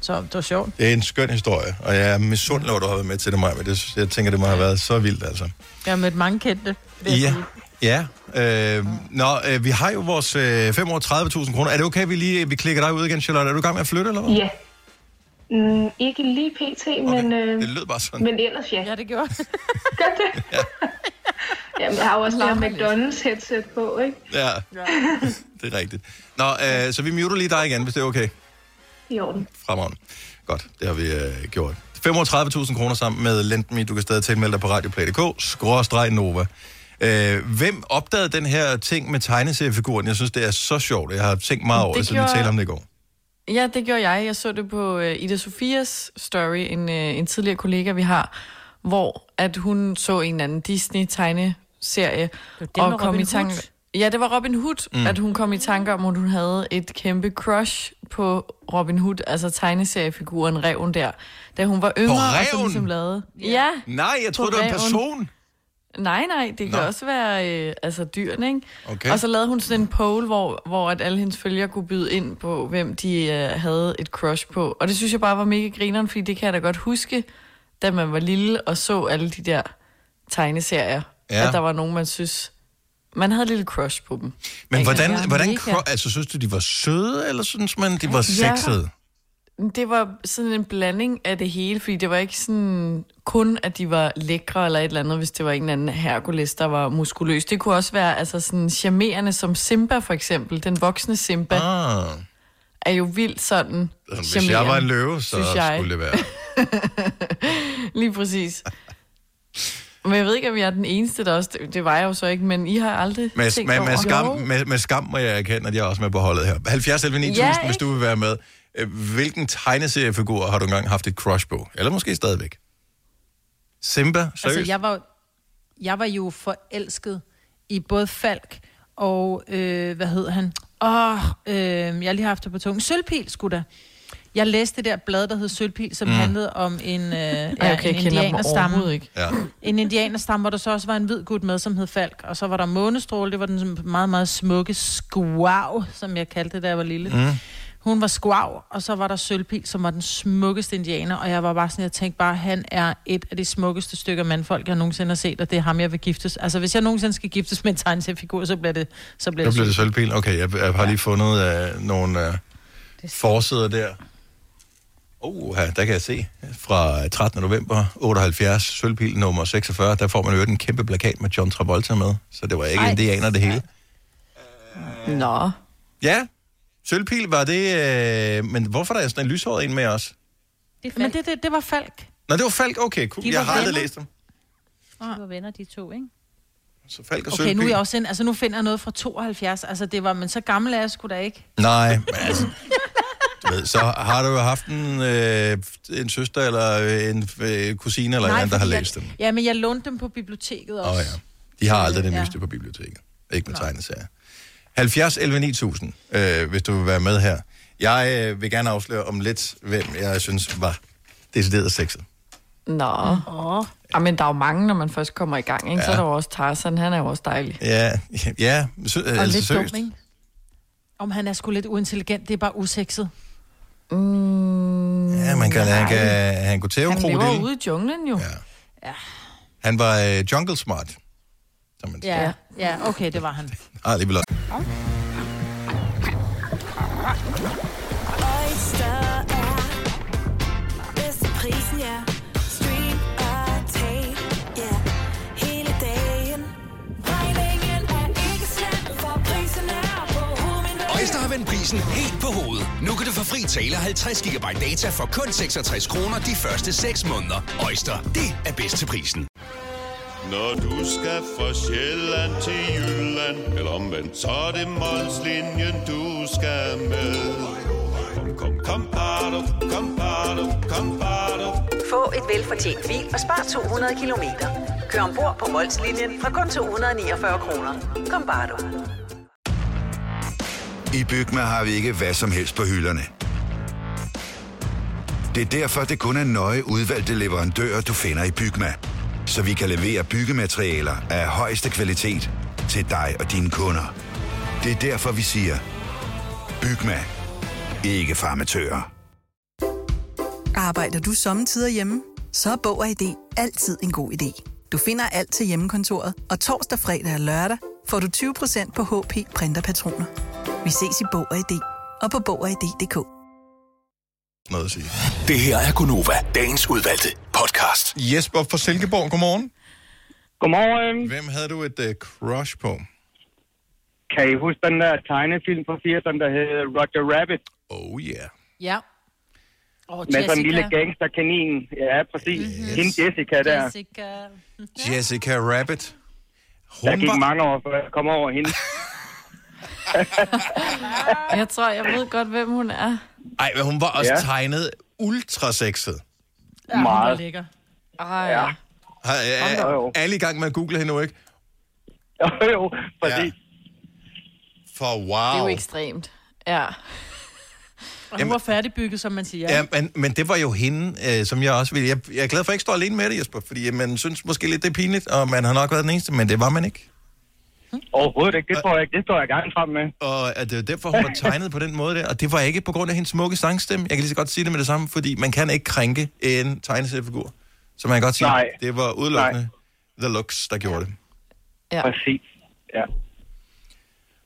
Så det var sjovt. Det er en skøn historie, og jeg er misundelig over, at du har været med til det, Maja, men det, jeg tænker, det må have været så vildt, altså. Jeg har mødt mange kendte. vil jeg Ja, sige. ja. Øh, nå, øh, vi har jo vores øh, 5 år 30.000 kroner. Er det okay, vi lige vi klikker dig ud igen, Charlotte? Er du i gang med at flytte, eller hvad? Ja. Mm, ikke lige pt, okay. men, øh, Det lød bare sådan. men ellers ja. Ja, det gjorde Gør det? Ja. Jamen, jeg har jo også lavet McDonald's headset på, ikke? Ja, det er rigtigt. Nå, øh, så vi muter lige dig igen, hvis det er okay. I orden. Fremragende. Godt, det har vi øh, gjort. 35.000 kroner sammen med Lendme. Du kan stadig tilmelde dig på radioplay.dk. Skråstreg Nova. Øh, hvem opdagede den her ting med tegneseriefiguren? Jeg synes, det er så sjovt. Jeg har tænkt meget over det, Det siden vi gjorde- talte om det i går. Ja, det gjorde jeg. Jeg så det på øh, Ida Sofias story, en, øh, en tidligere kollega, vi har, hvor at hun så en eller anden Disney-tegneserie det med Robin Hood. Ja, det var Robin Hood, Mm. mm. at hun kom i tanke om, at hun havde et kæmpe crush på Robin Hood, altså tegneseriefiguren Reven der, da hun var yngre, og så Ræven? ligesom lavede... Ja. Nej, jeg På troede, det var en Ræven. person. Nej, nej, det kan Nå. Nå. også være øh, altså dyrene, ikke? Okay. Og så lavede hun sådan en poll, hvor, hvor at alle hendes følgere kunne byde ind på, hvem de øh, havde et crush på. Og det synes jeg bare var mega grineren, fordi det kan jeg da godt huske, da man var lille og så alle de der tegneserier, Ja. ja. at der var nogen, man synes, man havde et lille crush på dem. Men Ikke? hvordan, Ja, hvordan mega. kro- altså, synes du, de var søde, eller synes man, de var Ja. sexede? Det var sådan en blanding af det hele, fordi det var ikke sådan kun, at de var lækre eller et eller andet, hvis det var en eller anden Hercules, der var muskuløs. Det kunne også være altså sådan charmerende som Simba for eksempel. Den voksne Simba ah. Altså, er jo vildt sådan Hvis jeg charmerende, var en løve, så synes jeg. skulle det være. Lige præcis. Men jeg ved ikke, om jeg er den eneste, der også... Det var jeg jo så ikke, men I har aldrig Med, tænkt med, over... med, Jo. skam, med, med skam må jeg erkende, at jeg er også med på holdet her. 70 11 9000, Ja, ja, ikke? hvis du vil være med. Øh, Hvilken tegneseriefigur har du engang haft et crush på? Eller måske stadigvæk? Simba? Seriøst? Altså, jeg var, jeg var jo forelsket i både Falk og, øh, hvad hed han? Åh, oh, øh, jeg har lige haft det på tungen. Sølvpil, skulle da. Jeg læste det der blad, der hed Sølvpil, som Mm. mm. handlede om en, øh, ja, Ej, okay, en jeg kender dem indianerstamme. overhovedet ikke. Ja. En indianerstamme, hvor der så også var en hvid gut med, som hed Falk. Og så var der Månestråle, det var den meget, meget smukke skvav, som jeg kaldte det, da jeg var lille. Mm. Hun var skvav, og så var der Sølvpil, som var den smukkeste indianer, og jeg var bare sådan, jeg tænkte bare, han er et af de smukkeste stykker mandfolk, jeg nogensinde har set, og det er ham, jeg vil giftes. Altså, hvis jeg nogensinde skal giftes med en tegneseriefigur, så bliver det, så bliver Der det, blev det Sølvpil. sølvpil. Okay, jeg, jeg har lige fundet øh, nogle øh, forsæder der. Oh, her, der kan jeg se. Fra 13. november 78, sølvpil nummer 46, der får man jo en kæmpe plakat med John Travolta med. Så det var ikke Ej. Ej. indianer det hele. Nå. Ja, sølvpil var det... Øh, men hvorfor der er sådan en lyshåret en med os? Det Men det, det, det var Falk. Nå, det var Falk. Okay, cool. De Jeg var har aldrig venner. læst dem. De var venner, de to, ikke? Så Falk og Okay, sølvpil. nu, er jeg også ind, altså, nu finder jeg noget fra 72. Altså, det var, men så gammel er jeg sgu da ikke. Nej, men altså... Du ved, så har du jo haft en, øh, en søster eller øh, en øh, kusine eller en, der har fordi læst dem. jeg, Ja, men jeg lånte dem på biblioteket Åh også. oh, ja. De har aldrig det Ja. nyeste på biblioteket. Ikke med tegneserier. 70 11 9000, øh, hvis du vil være med her. Jeg øh, vil gerne afsløre om lidt, hvem jeg synes var decideret sexet. Nå. Oh. Ja, men der er jo mange, når man først kommer i gang, ikke? Ja. Så er der jo også Tarzan, han er jo også dejlig. Ja, ja sø, Og altså, lidt seriøst. dum, ikke? Om han er sgu lidt uintelligent, det er bare usekset. Mm, Ja, man kan, han, kan, han kunne tæve en han lever krokodil. ude i junglen jo. Han var øh, jungle smart. Ja, ja, okay, det var han. Ah, lige vel- Oyster er bedst til prisen, ja. Stream og tag, ja. Hele dagen. Regningen er ikke slem, for prisen er på hovedet. Øjster har vendt prisen helt på hovedet. Nu kan du få fri tale 50 GB data for kun 66 kroner de første 6 måneder. Øjster, det er bedst til prisen. Når du skal fra Sjælland til Jylland Eller omvendt, så er det Molslinjen, du skal med Kom, kom, kom, bado, kom, bado, kom, bado. Få et velfortjent bil og spar 200 kilometer. Kør ombord på Molslinjen fra kun 249 kroner. Kom bare du. I Bygma har vi ikke hvad som helst på hylderne. Det er derfor, det kun er nøje udvalgte leverandører, du finder i Bygma. Så vi kan levere byggematerialer af højeste kvalitet til dig og dine kunder. Det er derfor, vi siger, Bygma. Ikke farmatører. Arbejder du sommetider hjemme? Så er Bog og ID altid en god idé. Du finder alt til hjemmekontoret, og torsdag, fredag og lørdag får du 20% på HP printerpatroner. Vi ses i Bog og ID og på Bog og ID.dk. Noget at sige. Det her er Gunova, dagens udvalgte podcast. Jesper fra Silkeborg, godmorgen. Godmorgen. Hvem havde du et øh, crush på? Kan I huske den der tegnefilm fra 80'erne, der hed Roger Rabbit? Oh yeah. Ja. Og Med sådan en lille gangsterkanin. Ja, præcis. Yes. Hende Jessica der. Jessica. Jessica Rabbit. Der Hun gik var- mange år, før jeg kom over hende. Jeg tror, jeg ved godt, hvem hun er. Ej, men hun var også Ja. ja. tegnet ultrasexet. Ja, hun var Meget. lækker. Ej. Ja. Har, er, er alle i gang med at google hende nu, ikke? Jo, jo, præcis. Ja. For wow. Det er jo ekstremt. Ja. Og Jamen- hun var færdigbygget, som man siger. Ja, men, men det var jo hende, øh, som jeg også ville. Jeg, jeg er glad for, at jeg ikke står alene med det, Jesper, fordi øh, man synes måske lidt, det er pinligt, og man har nok været den eneste, men det var man ikke. Overhovedet ikke. Det tror jeg ikke. Det står jeg gerne frem med. Og at det er derfor, hun var tegnet på den måde der, og det var ikke på grund af hendes smukke sangstemme. Jeg kan lige så godt sige det med det samme, fordi man kan ikke krænke en tegneseriefigur. Så man kan godt sige, Nej. det var udelukkende The Looks, der gjorde det. Ja. Præcis. Ja.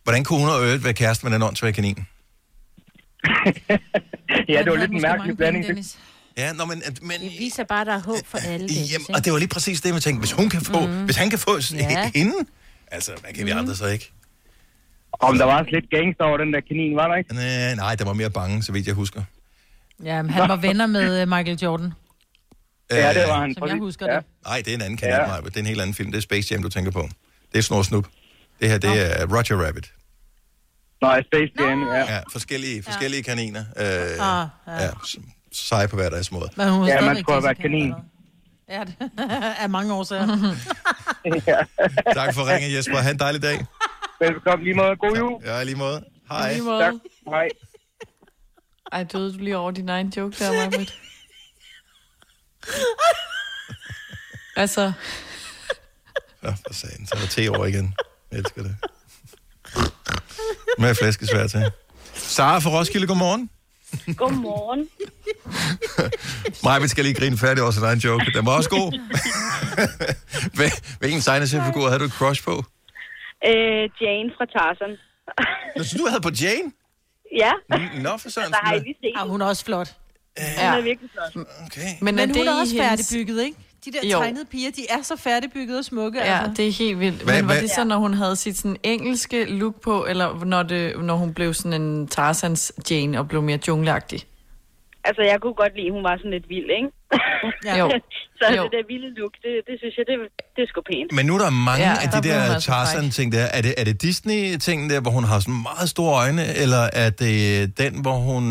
Hvordan kunne hun og øvrigt være kæreste med den åndsvage kanin? ja, det var lidt en mærkelig blanding. Det, Ja, nå, men, men... Det viser bare, at der er håb for alle det. Jamen, og det var lige præcis det, jeg tænkte, hvis hun kan få, mm. hvis han kan få sådan Ja. ja. hende, altså, hvad Mm. kan vi andre så ikke? Om der var også lidt gangster over den der kanin, var der ikke? Nej, nej, der var mere bange, så vidt jeg husker. Ja, men han var venner med øh, Michael Jordan, Ja, det var som jeg husker det. Øh, Nej, det er en anden kanal, ja. det er en helt anden film. Det er Space Jam, du tænker på. Det er Snor Snup. Det her, det er Roger Rabbit. Nej, Space Jam, ja. ja forskellige, forskellige ja. kaniner. Øh, ah, Ah, ja. ja. ja. som- Seje på hver deres måde. Men hun er Ja, man stadigvæk skulle have været kanin. Ja, det er mange årsager. Tak for ringen, Jesper. Ha' en dejlig dag. Velkommen lige måde. God jul. Ja, lige måde. Hej. Hej. Lige måde. Tak. Hej. Ej, døde du lige over din egen joke der, Marvitt? altså, Ja, for satan. Så er der te over igen. Jeg elsker det. Med flæskesvær til. Sara fra Roskilde, godmorgen. Godmorgen. Maja, vi skal lige grine færdig over sin egen joke. Den var også god. Hvil- Hvilken tegneseriefigur havde du et crush på? Øh, Jane fra Tarzan. Nå, så du havde på Jane? Ja, Nå, for søren. der har jeg lige set. Ah, hun er også flot. Ja. Hun er virkelig flot. Mm, Okay. Men, er Men hun det er i også hendes- færdigbygget, ikke? De der Jo. tegnede piger, de er så færdigbygget og smukke. ja, altså. det er helt vildt. Hvad- Men var hvad- det så, når hun havde sit sådan engelske look på, eller når, det, når hun blev sådan en Tarzans Jane og blev mere jungleagtig? Altså, jeg kunne godt lide, at hun var sådan lidt vild, ikke? Ja. Jo. Så altså, Jo. det der vilde look, det, det synes jeg, det, det er sgu pænt. Men nu er der mange Ja, ja, af der de blev hun der altså fræk. Tarzan-ting der. Er det, er det Disney-ting der, hvor hun har sådan meget store øjne, eller er det den, hvor hun...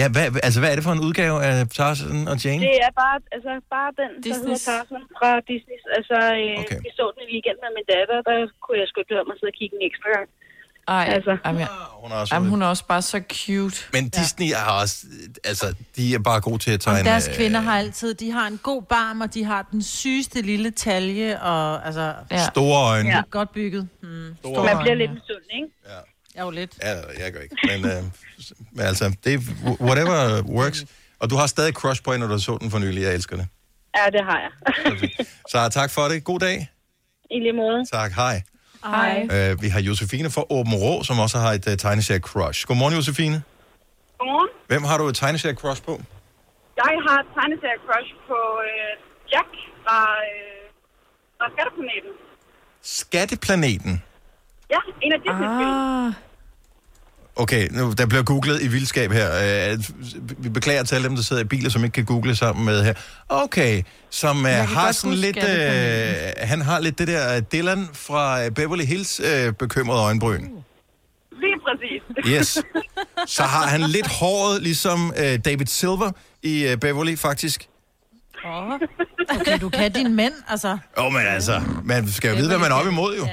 Ja, hvad, altså hvad er det for en udgave af Tarzan og Jane? Det er bare, altså, bare den, der hedder Disney's. Tarzan fra Disney. Altså, øh, okay. vi så den i weekenden med min datter, der kunne jeg sgu ikke lade mig sidde og kigge en ekstra gang. Ej, Altså. altså. jamen, jeg, Hun er også jamen, hun er også bare så cute. Men Disney er også... Altså, de er bare gode til at tegne... Jamen, deres øh, kvinder har altid, de har en god barm, og de har den sygeste lille talje, og altså... Ja. Store øjne. Ja. Godt bygget. Mm. Store Man bliver lidt misundelig, ikke? Ja. Jeg er jo lidt. Ja, jeg gør ikke. Men, øh, men altså, det er whatever works. Og du har stadig crush på hende, når du så den for nylig. Jeg elsker det. Ja, det har jeg. Så tak for det. God dag. I lige måde. Tak. Hej. Hej. Øh, vi har Josefine fra Åben Rå, som også har et uh, tegneserie-crush. Godmorgen, Josefine. Godmorgen. Hvem har du et tegneserie-crush på? Jeg har et tegneserie-crush på øh, Jack fra, øh, fra Skatterplaneten. Skatteplaneten. Ja, en af disney ah. Okay, nu, der bliver googlet i vildskab her. Øh, vi beklager til alle dem, der sidder i biler, som ikke kan google sammen med her. Okay, som uh, Jeg kan har godt sådan huske lidt... Øh, Skatteplaneten. han har lidt det der øh, Dylan fra øh, Beverly Hills øh, bekymrede øjenbryn. Lige præcis. Yes. Så har han lidt håret, ligesom øh, David Silver i øh, Beverly, faktisk. Åh. Okay, du kan din mænd, altså. Åh, oh, men altså, man skal jo vide, hvad man er op imod, jo.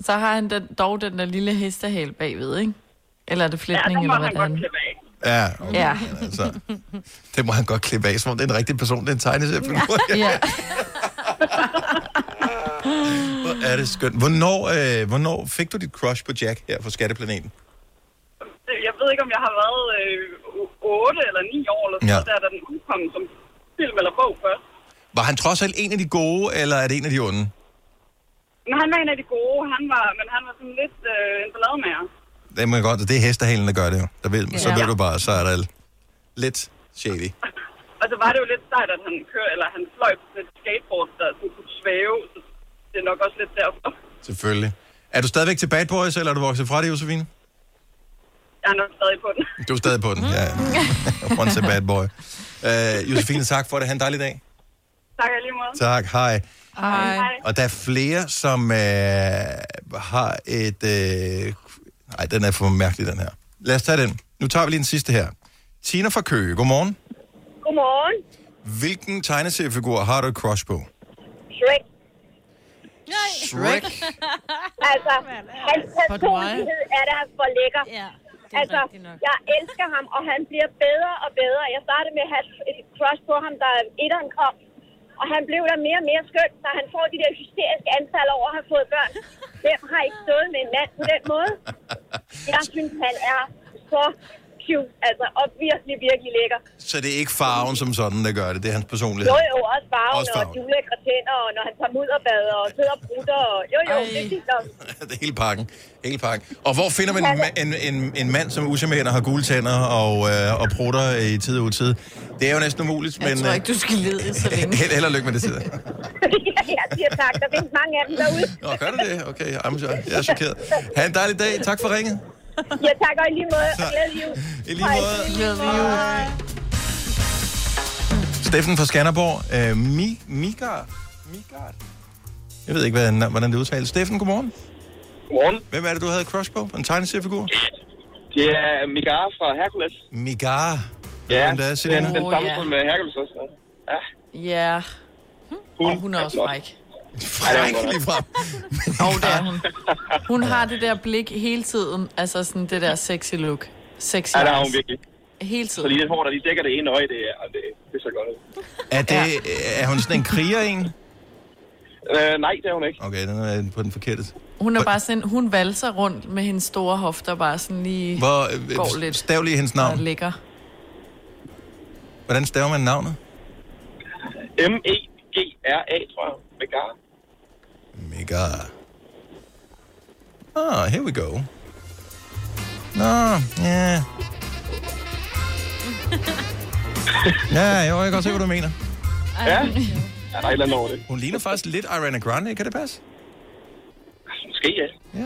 Så har han den, dog den der lille hestehale bagved, ikke? Eller er det flætning, Ja, ja, der må eller hvad han det er? godt klippe af. Ja, okay. Ja. men Altså, det må han godt klippe af, som om det er en rigtig person, det er en tegneseriefigur. Ja. Hvor er det skønt. Hvornår, øh, hvornår fik du dit crush på Jack her fra Skatteplaneten? Jeg ved ikke, om jeg har været øh, 8 eller 9 år, eller sådan Ja. ja. der, da den udkom som film eller bog først. Var han trods alt en af de gode, eller er det en af de onde? Men han var en af de gode, han var, men han var sådan lidt øh, en ballademager. Det må jeg godt, det er hestehalen, der gør det jo. Der ved, ja. Så Ja. ved du bare, så er der lidt shady. Og så var det jo lidt sejt, at han kører, eller han fløj på sådan et skateboard, der sådan kunne svæve, så det er nok også lidt derfor. Selvfølgelig. Er du stadigvæk til Bad Boys, eller er du vokset fra det, Josefine? Jeg er nok stadig på den. Du er stadig på den, ja. Once a bad boy. Uh, Josefine, tak for det. Ha' en dejlig dag. tak og i lige måde. Tak, hej. Hej. Hej. Og der er flere, som øh, har et... Øh, nej, den er for mærkelig, den her. Lad os tage den. Nu tager vi lige den sidste her. Tina fra Køge, godmorgen. Godmorgen. Hvilken tegneseriefigur har du et crush på? Shrek. Nej. Shrek. altså, hans personlighed er der for lækker. Ja, det er altså, rigtigt nok. jeg elsker ham, og han bliver bedre og bedre. Jeg startede med at have et crush på ham, da etteren kom. Og han blev der mere og mere skøn, da han får de der hysteriske anfald over at have fået børn. Hvem har ikke stået med en mand på den måde? Jeg synes, han er så cute, altså, og virkelig, virkelig lækker. Så det er ikke farven som sådan, der gør det. Det er hans personlighed. Jo, jo, også farven, Også også farven. og de ulækre tænder, og når han tager mudderbader og sidder og brutter. Og... Jo, jo, det er fint nok. Det er hele pakken. Hele pakken. Og hvor finder man en, ma- en, en, en mand, som er usammerende, har gule tænder og, øh, og prutter i tid og utid? Det er jo næsten umuligt, men... øh, Jeg tror ikke, du skal lede så længe. Held, held og lykke med det, Sida. jeg siger tak, der findes mange af dem derude. Nå, gør du det? Okay, I'm sorry. jeg er chokeret. Ha' en dejlig dag. Tak for ringet. Ja, tak, og i lige måde, og Tak. glædelig jul. I lige måde. Glædelig jul. Steffen fra Skanderborg. Øh, Mi, Migard. Migard. Jeg ved ikke, hvad, hvordan det udtales. Steffen, godmorgen. Godmorgen. Hvem er det, du havde crush på? En tegneseriefigur? Det er Migara fra Hercules. Migara. Ja, Hvem det er, den, Selina? den samme oh, ja. med Hercules også. Ja. Ja. Hun, og hun er også fræk. Fræk ligefrem. Og det er hun. Hun har det der blik hele tiden. Altså sådan det der sexy look. Sexy Ja, der har hun eyes. virkelig. Hele Så lige tiden. det hår, der lige dækker det ene øje, det er, det, det er så godt. ud. Er, det, er hun sådan en kriger, en? Øh, nej, det er hun ikke. Okay, den er på den forkerte. Hun er bare sådan, hun valser rundt med hendes store hofter, bare sådan lige Hvor går øh, lidt stav lige hendes og navn. ligger. Hvordan staver man navnet? E M-E-G-R-A, tror jeg. Megara. Mega. Ah, here we go. Nå, ja. Ja, jo, jeg kan godt se, hvad du mener. Ja. Ja, der er et eller andet over det. Hun ligner faktisk lidt Ariana Grande, kan det passe? Måske, ja. Ja.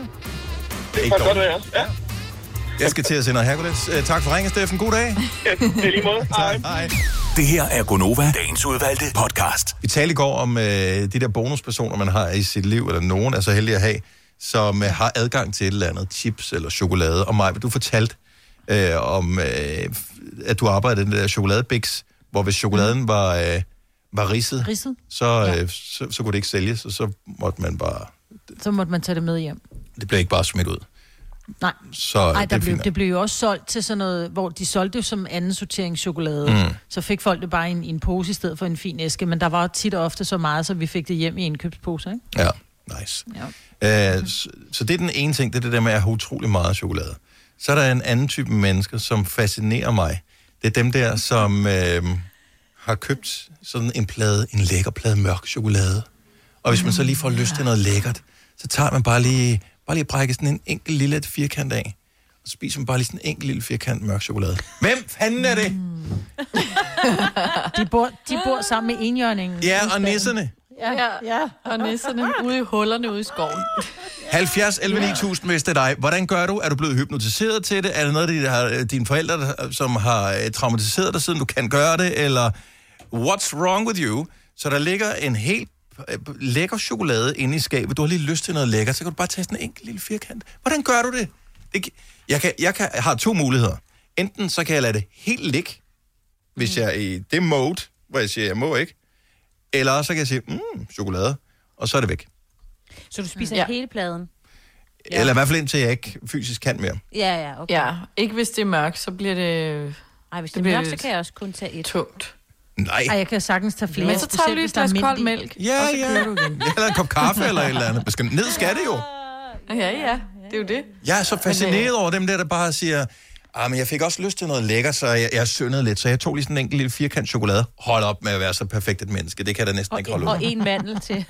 Det Ikke er godt, dårligt. det er. Ja. Jeg skal til at se noget Hercules. Øh, Tak for ringen, Steffen. God dag. Det er lige måde. Hej. Hej. Det her er Gonova, dagens udvalgte podcast. Vi talte i går om øh, de der bonuspersoner, man har i sit liv, eller nogen er så heldig at have, som øh, har adgang til et eller andet, chips eller chokolade. Og Maja, du fortalte øh, om, øh, f- at du arbejdede i den der chokoladebiks, hvor hvis chokoladen var, øh, var ridset, Ridset. Så, øh, så, så kunne det ikke sælges, og så måtte man bare... Så måtte man tage det med hjem. Det blev ikke bare smidt ud. Nej. Så Ej, det der er blev, fint. det blev jo også solgt til sådan noget, hvor de solgte det som anden sorteringschokolade. Mm. Mm. Så fik folk det bare i en, i en pose i stedet for en fin æske. Men der var tit og ofte så meget, så vi fik det hjem i indkøbsposer, ikke? Ja, nice. Ja. Øh, så, så det er den ene ting, det er det der med at have utrolig meget chokolade. Så er der en anden type mennesker, som fascinerer mig. Det er dem der, som øh, har købt sådan en plade, en lækker plade mørk chokolade. Og hvis man så lige får lyst til noget lækkert, så tager man bare lige, bare lige brække sådan en enkelt lille firkant af. Og spiser man bare lige sådan en enkelt lille firkant mørk chokolade. Hvem fanden er det? De bor, de bor sammen med enhjørningen. Ja, og nisserne. Ja, ja. Og nisserne ude i hullerne ude i skoven. 70 11 9000, hvis det er dig. Hvordan gør du? Er du blevet hypnotiseret til det? Er det noget, der har, øh, dine forældre, der- som har øh, traumatiseret dig, siden du kan gøre det? Eller what's wrong with you? Så der ligger en helt øh, lækker chokolade inde i skabet. Du har lige lyst til noget lækker, så kan du bare tage sådan en enkelt lille firkant. Hvordan gør du det? det gi- jeg, kan, jeg, kan, jeg har to muligheder. Enten så kan jeg lade det helt ligge, hvis jeg er i det mode, hvor jeg siger, jeg må ikke. Eller også så kan jeg sige, mm, chokolade, og så er det væk. Så du spiser Ja. ja. hele pladen? Ja. Eller i hvert fald indtil jeg ikke fysisk kan mere. Ja, ja, okay. Ja, ikke hvis det er mørkt, så bliver det... Ej, hvis det er mørkt, så kan jeg også kun tage et. Tungt. Nej. Ej, jeg kan sagtens tage flere. Men så tager du specielt lige hvis et der er glas kold mint i. mælk. Ja, og så ja. kører du igen. Eller en kop kaffe eller et eller andet. Man skal, ned skal det jo. Ja, ja. Det er jo det. Jeg er så fascineret over dem der, der bare siger, ah, men jeg fik også lyst til noget lækker, så jeg, jeg syndede lidt, så jeg tog lige sådan en enkelt lille firkant chokolade. Hold op med at være så perfekt et menneske. Det kan jeg da næsten ikke holde ud. Og en mandel til.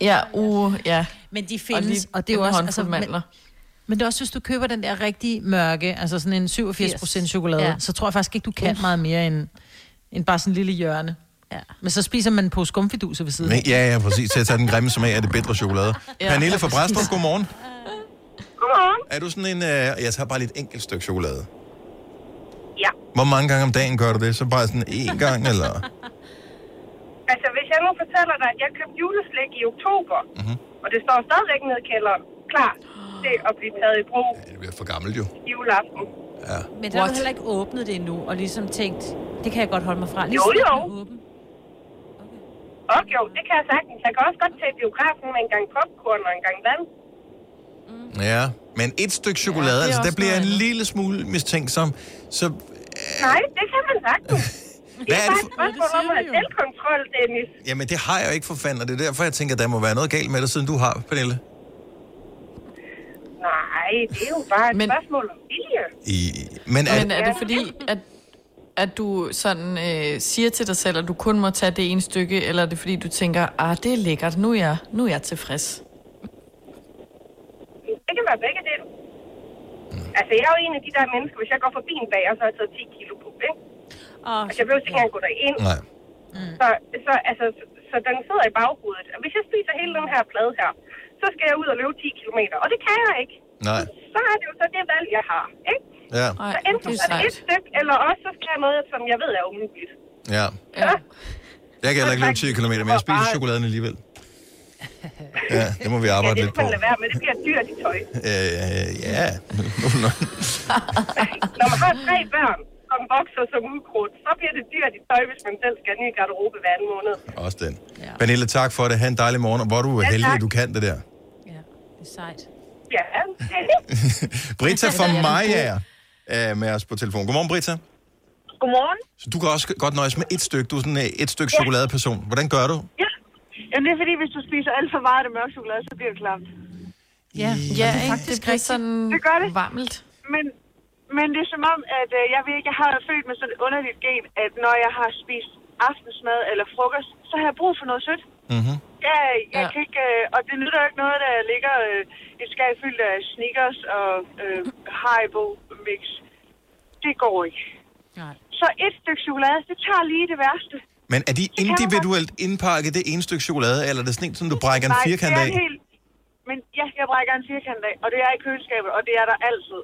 Ja, uh, ja. Men de Og findes, lige og, og det er jo en også... altså, håndfuld mandler. men, men det er også, hvis du køber den der rigtig mørke, altså sådan en 87 procent chokolade, Ja. ja. så tror jeg faktisk ikke, du kan meget mere end, end bare sådan en lille hjørne. Ja. Men så spiser man på skumfiduser ved siden. Men, ja, ja, præcis. Så jeg tager den grimme smag af det bedre chokolade. Ja. Ja. Pernille fra Bræstrup, godmorgen. Godmorgen. Er du sådan en, øh, jeg tager bare lidt enkelt stykke chokolade? Ja. Hvor mange gange om dagen gør du det? Så bare sådan én gang, eller? Altså, hvis jeg nu fortæller dig, at jeg købte juleslik i oktober, Mhm. mm-hmm. og det står stadigvæk nede i kælderen, klar til at blive taget i brug Det bliver for gammelt jo. juleaften. Men der har du What? heller ikke åbnet det endnu, og ligesom tænkt, det kan jeg godt holde mig fra. Jo, Ligesom jo. den er åben. Og jo, det kan jeg sagtens. Jeg kan også godt tage i biografen med en gang popcorn og en gang vand. Ja, men et stykke chokolade, det ja, er altså, der også bliver jeg en noget lille smule mistænksom. Så Nej, det kan man sagtens. Det Hvad er er det bare et spørgsmål om at have selvkontrol, Dennis. Jamen, det har jeg jo ikke for fanden, og det er derfor, jeg tænker, at der må være noget galt med det, siden du har, Pernille. Nej, det er jo bare et spørgsmål om vilje. I... Men er, men er det fordi, at, at du sådan øh, siger til dig selv, at du kun må tage det ene stykke, eller er det fordi, du tænker, ah, det er lækkert, nu er jeg, nu er jeg tilfreds? Det kan være begge dele. Altså, jeg er jo en af de der mennesker, hvis jeg går forbi en bager, så har jeg taget 10 kilo på, ikke? Oh, altså, jeg behøver ikke engang gå derind. Nej. Så, så, altså, så, så den sidder i baghovedet. Og hvis jeg spiser hele den her plade her, så skal jeg ud og løbe 10 km, og det kan jeg ikke. Nej. Så er det jo så det valg, jeg har, ikke? Ja, så enten så er det et stykke, eller også så skal jeg noget, som jeg ved er umuligt. ja. Ja. Jeg kan heller ikke løbe 10 km, men jeg spiser chokoladen alligevel. Ja, det må vi ja, arbejde det lidt skal på. man lade være med. Det bliver dyrt i tøj. Øh, ja. Nå, Når man har tre børn, som vokser som ukrudt, så bliver det dyrt i tøj, hvis man selv skal ned i garderobe hver anden måned. Også den. Pernille, tak for det. Ha' en dejlig morgen, og hvor er du Ja, heldig, tak. at du kan det der. Det er sejt. Ja. Britta Ja, den fra er Maja er med os på telefon. Godmorgen, Britta. Godmorgen. Så du kan også godt nøjes med et stykke. Du er sådan øh, et stykke Ja. chokoladeperson. Hvordan gør du? Ja. Jamen, det er fordi, hvis du spiser alt for meget af det mørke chokolade, så bliver det klamt. Ja, Mm. ja det, faktisk det bliver sådan det gør det. varmelt. Men, men det er som om, at øh, jeg ved ikke, jeg har været født med sådan et underligt gen, at når jeg har spist aftensmad eller frokost, så har jeg brug for noget sødt. Mm-hmm. Ja, jeg ja. kan ikke, øh, og det nytter jo ikke noget, der ligger øh, et skab fyldt af Snickers og øh, Haribo mix. Det går ikke. Nej. Så et stykke chokolade, det tager lige det værste. Men er de man individuelt indpakket det ene stykke chokolade, eller er det sådan en, som du brækker en Nej, firkant det er en af? hel- Men ja, jeg brækker en firkant af, og det er i køleskabet, og det er der altid.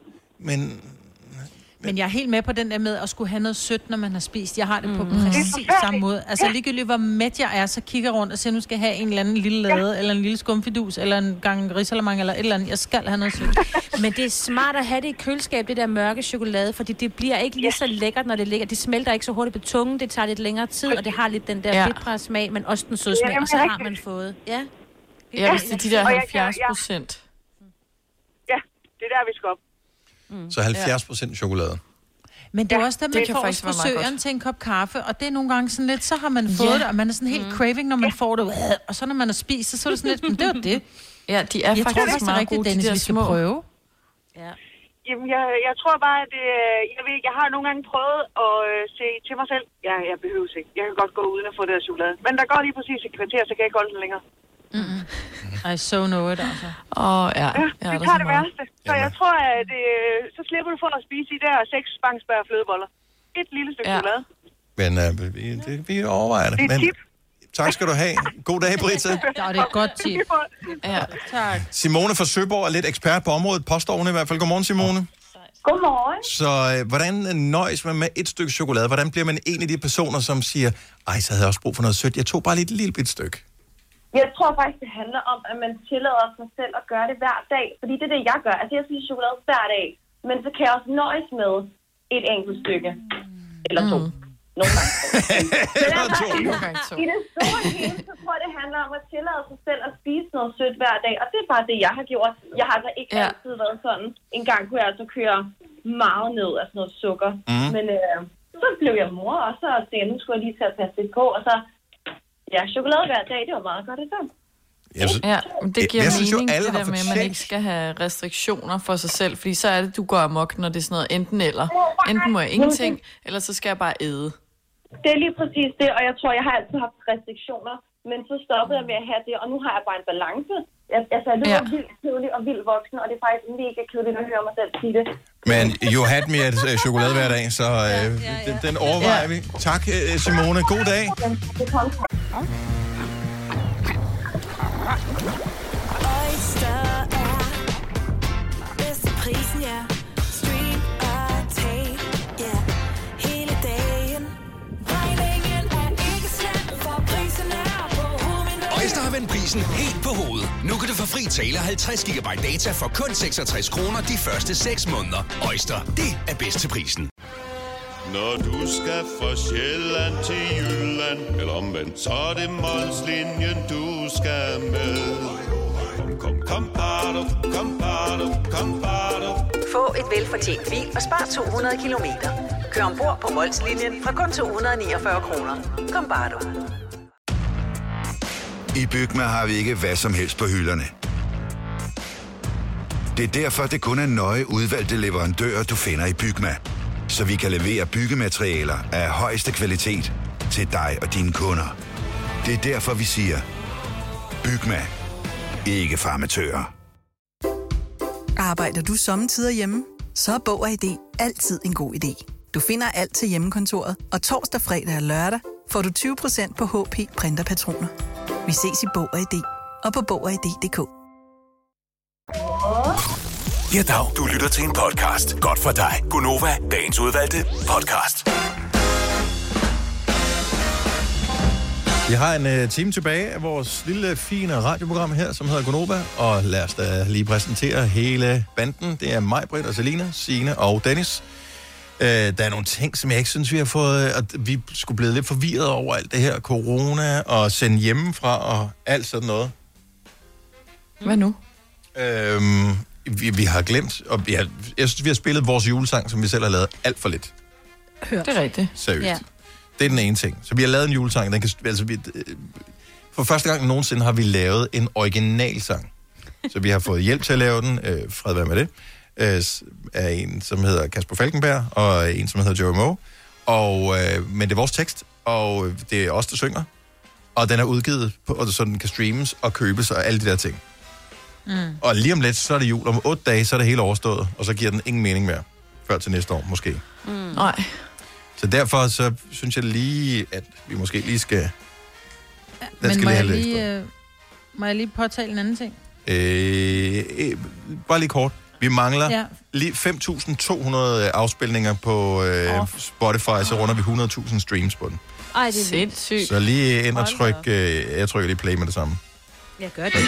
Men Mm. Men jeg er helt med på den der med at skulle have noget sødt, når man har spist. Jeg har det Mm. på præcis samme måde. Altså Ja. ligegyldigt hvor mæt jeg er, så kigger jeg rundt og siger, nu skal jeg have en eller anden lille lade, eller en lille skumfidus, eller en gang risalamang, eller et eller andet. Jeg skal have noget sødt. Men det er smart at have det i køleskab, det der mørke chokolade, fordi det bliver ikke lige så lækkert, når det ligger. Det smelter ikke så hurtigt på tungen, det tager lidt længere tid, og det har lidt den der Ja. ja. bitre smag, men også den søde Ja, smag, jamen, og så det er har man rigtigt. fået. Ja. Ja, hvis det er de der Og jeg kan- 70 ja. procent. Ja, det er der, vi skal op. så 70 procent chokolade. Men det er også der, det man kan får hos faktisk være meget frisøren godt. til en kop kaffe, og det er nogle gange sådan lidt, så har man fået Ja. Mm. det, og man er sådan helt craving, når man får det, og så når man har spist, så er det sådan lidt, men det var det. Ja, de er jeg tror faktisk det er meget rigtigt, gode, de Dennis, der vi skal små. prøve. Jamen, jeg, jeg tror bare, at øh, jeg, ved, ikke, jeg har nogle gange prøvet at øh, se til mig selv. Ja, jeg behøver ikke. Jeg kan godt gå uden at få det her chokolade. Men der går lige præcis et kvarter, så kan jeg ikke holde den længere. I so know it, altså. Åh, oh, ja. ja. Ja, der det er tager så det meget. værste. Så jeg tror, at øh, så slipper du for at spise de der seks spangsbær og flødeboller. Et lille stykke ja. chokolade. Men øh, vi, det, vi overvejer det. Det er Men, tip. tak skal du have. God dag, Britta. Ja, det er et godt tip. Ja, tak. Simone fra Søborg er lidt ekspert på området, påstår hun i hvert fald. Godmorgen, Simone. Godmorgen. Så øh, hvordan øh, nøjes man med et stykke chokolade? Hvordan bliver man en af de personer, som siger, ej, så havde jeg også brug for noget sødt. Jeg tog bare lige et lille bit stykke. Jeg tror faktisk, det handler om, at man tillader sig selv at gøre det hver dag. Fordi det er det, jeg gør. Altså, jeg spiser chokolade hver dag. Men så kan jeg også nøjes med et enkelt stykke. Eller to. Mm. Nogle gange to. Men Eller altså, to. i- Nogle gange to. I det store hele, så tror jeg, det handler om at tillade sig selv at spise noget sødt hver dag. Og det er bare det, jeg har gjort. Jeg har altså ikke Ja. ja. altid været sådan. En gang kunne jeg altså køre meget ned af sådan noget sukker. Mhm. Mm. Men øh, så blev jeg mor, og så tænkte jeg, nu skulle jeg lige til at passe lidt på. Og så, ja, chokolade hver dag, det var meget godt. Det er sådan. Jeg synes, Ja, men det giver jeg jeg synes jo, mening, alle det har der med, at man fortjent- ikke skal have restriktioner for sig selv, fordi så er det, du går amok, når det er sådan noget enten eller. Enten må jeg ingenting, eller så skal jeg bare æde. Det er lige præcis det, og jeg tror, jeg har altid haft restriktioner, men så stoppede jeg med at have det, og nu har jeg bare en balance. Jeg, altså, jeg lyder ja. vildt kedelig og vildt voksen, og det er faktisk mega kedeligt at høre mig selv sige det. Men you had me at øh, chokolade hver dag, så øh, Den, den overvejer Ja. vi. Tak, øh, Simone. God dag. Det kom. Oyster er bedst til prisen, ja. Stream og tag, ja. Hele dagen. Regningen er ikke slem, for prisen er på hovedet. Øjster har vendt prisen helt på hovedet. Nu kan du få fri tale 50 GB data for kun 66 kroner de første 6 måneder. Øjster, det er bedst til prisen. Når du skal fra Sjælland til Jylland, eller omvendt, så er det Molslinjen, du skal med. Kom, kom, Kom, bado, kom, bado, kom, bado. Få et velfortjent bil og spar 200 kilometer. Kør ombord på Molslinjen fra kun 249 kroner. Kom bare du. I Bygma har vi ikke hvad som helst på hylderne. Det er derfor, det kun er nøje udvalgte leverandører, du finder i Bygma. Så vi kan levere byggematerialer af højeste kvalitet til dig og dine kunder. Det er derfor, vi siger, Bygma. Ikke farmatører. Arbejder du sommetider hjemme? Så er Bog og ID altid en god idé. Du finder alt til hjemmekontoret, og torsdag, fredag og lørdag får du 20% på HP printerpatroner. Vi ses i Bog og ID og på Bog og ID.dk. Ja, dag. Du lytter til en podcast. Godt for dig. Gunova, dagens udvalgte podcast. Vi har en øh, time tilbage af vores lille, fine radioprogram her, som hedder Gonova, og lad os da lige præsentere hele banden. Det er mig, Britt og Selina, Sine og Dennis. Øh, der er nogle ting, som jeg ikke synes, vi har fået, øh, at vi skulle blive lidt forvirret over alt det her corona og sende hjemmefra og alt sådan noget. Hvad nu? Øhm, vi, vi har glemt, og vi har, jeg synes, vi har spillet vores julesang, som vi selv har lavet alt for lidt. Hørt. Det er rigtigt. Seriøst. Ja. Det er den ene ting. Så vi har lavet en julesang. Den kan, altså, vi, øh, for første gang nogensinde har vi lavet en originalsang. Så vi har fået hjælp til at lave den. Øh, fred være med det. Øh, s- af en, som hedder Kasper Falkenberg, og en, som hedder Joe Moe. Og, øh, men det er vores tekst, og øh, det er os, der synger. Og den er udgivet, på, og så den kan streames og købes og alle de der ting. Mm. Og lige om lidt, så er det jul. Om otte dage, så er det hele overstået, og så giver den ingen mening mere. Før til næste år, måske. Mm. Nej. Så derfor så synes jeg lige, at vi måske lige skal... Den Men må have jeg, lidt lige, øh, må jeg lige påtale en anden ting? Øh, øh, bare lige kort. Vi mangler Ja. ja. lige 5.200 afspilninger på øh, oh. Spotify, så runder vi 100.000 streams på den. Ej, det er sindssygt. Så lige ind og tryk... Øh, jeg trykker lige play med det samme. Jeg gør det.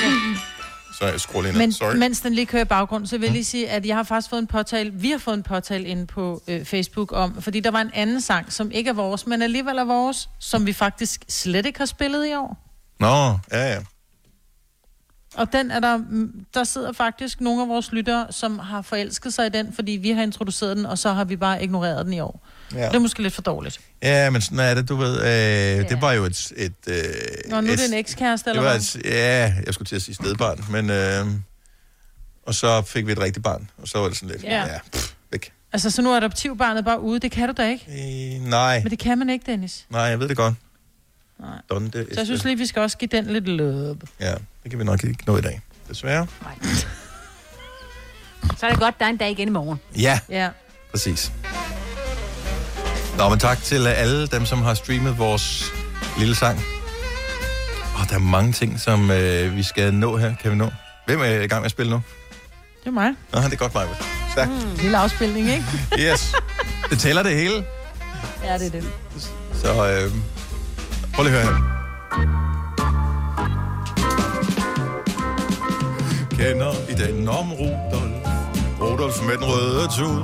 Så jeg scroller ind. Men, Sorry. Mm. mens den lige kører i baggrunden, så vil jeg lige sige, at jeg har faktisk fået en påtale, vi har fået en påtale inde på øh, Facebook om, fordi der var en anden sang, som ikke er vores, men alligevel er vores, som vi faktisk slet ikke har spillet i år. Nå, ja, ja. Og den er der, mm, der sidder faktisk nogle af vores lyttere, som har forelsket sig i den, fordi vi har introduceret den, og så har vi bare ignoreret den i år. Ja. Ja. Det er måske lidt for dårligt. Ja, men sådan er det, du ved. Øh, Det var jo et... et øh, Nå, nu er et, det en ekskæreste, eller det var hvad? et, Ja, jeg skulle til at sige stedbarn, men... Øh, og så fik vi et rigtigt barn, og så var det sådan lidt... Ja. Ja. ja pff, væk. Altså, så nu er adoptivbarnet bare ude. Det kan du da ikke. Øh, nej, Men det kan man ikke, Dennis. nej, jeg ved det godt. Nej. Donde, Så jeg synes lige, vi skal også give den lidt løb. Ja, det kan vi nok ikke nå i dag, desværre. Så er det godt, der er en dag igen i morgen. Ja, Ja. præcis. Nå, men tak til alle dem, som har streamet vores lille sang. Og der er mange ting, som øh, vi skal nå her. Kan vi nå? Hvem er i gang med at spille nu? Det er mig. Nå, det er godt, Maja. Stærkt. Mm. Lille afspilning, ikke? Yes. Det tæller det hele. ja, det er det. Så øh, prøv lige at høre her. Kender i den om Rudolf. Rudolf med den røde tud.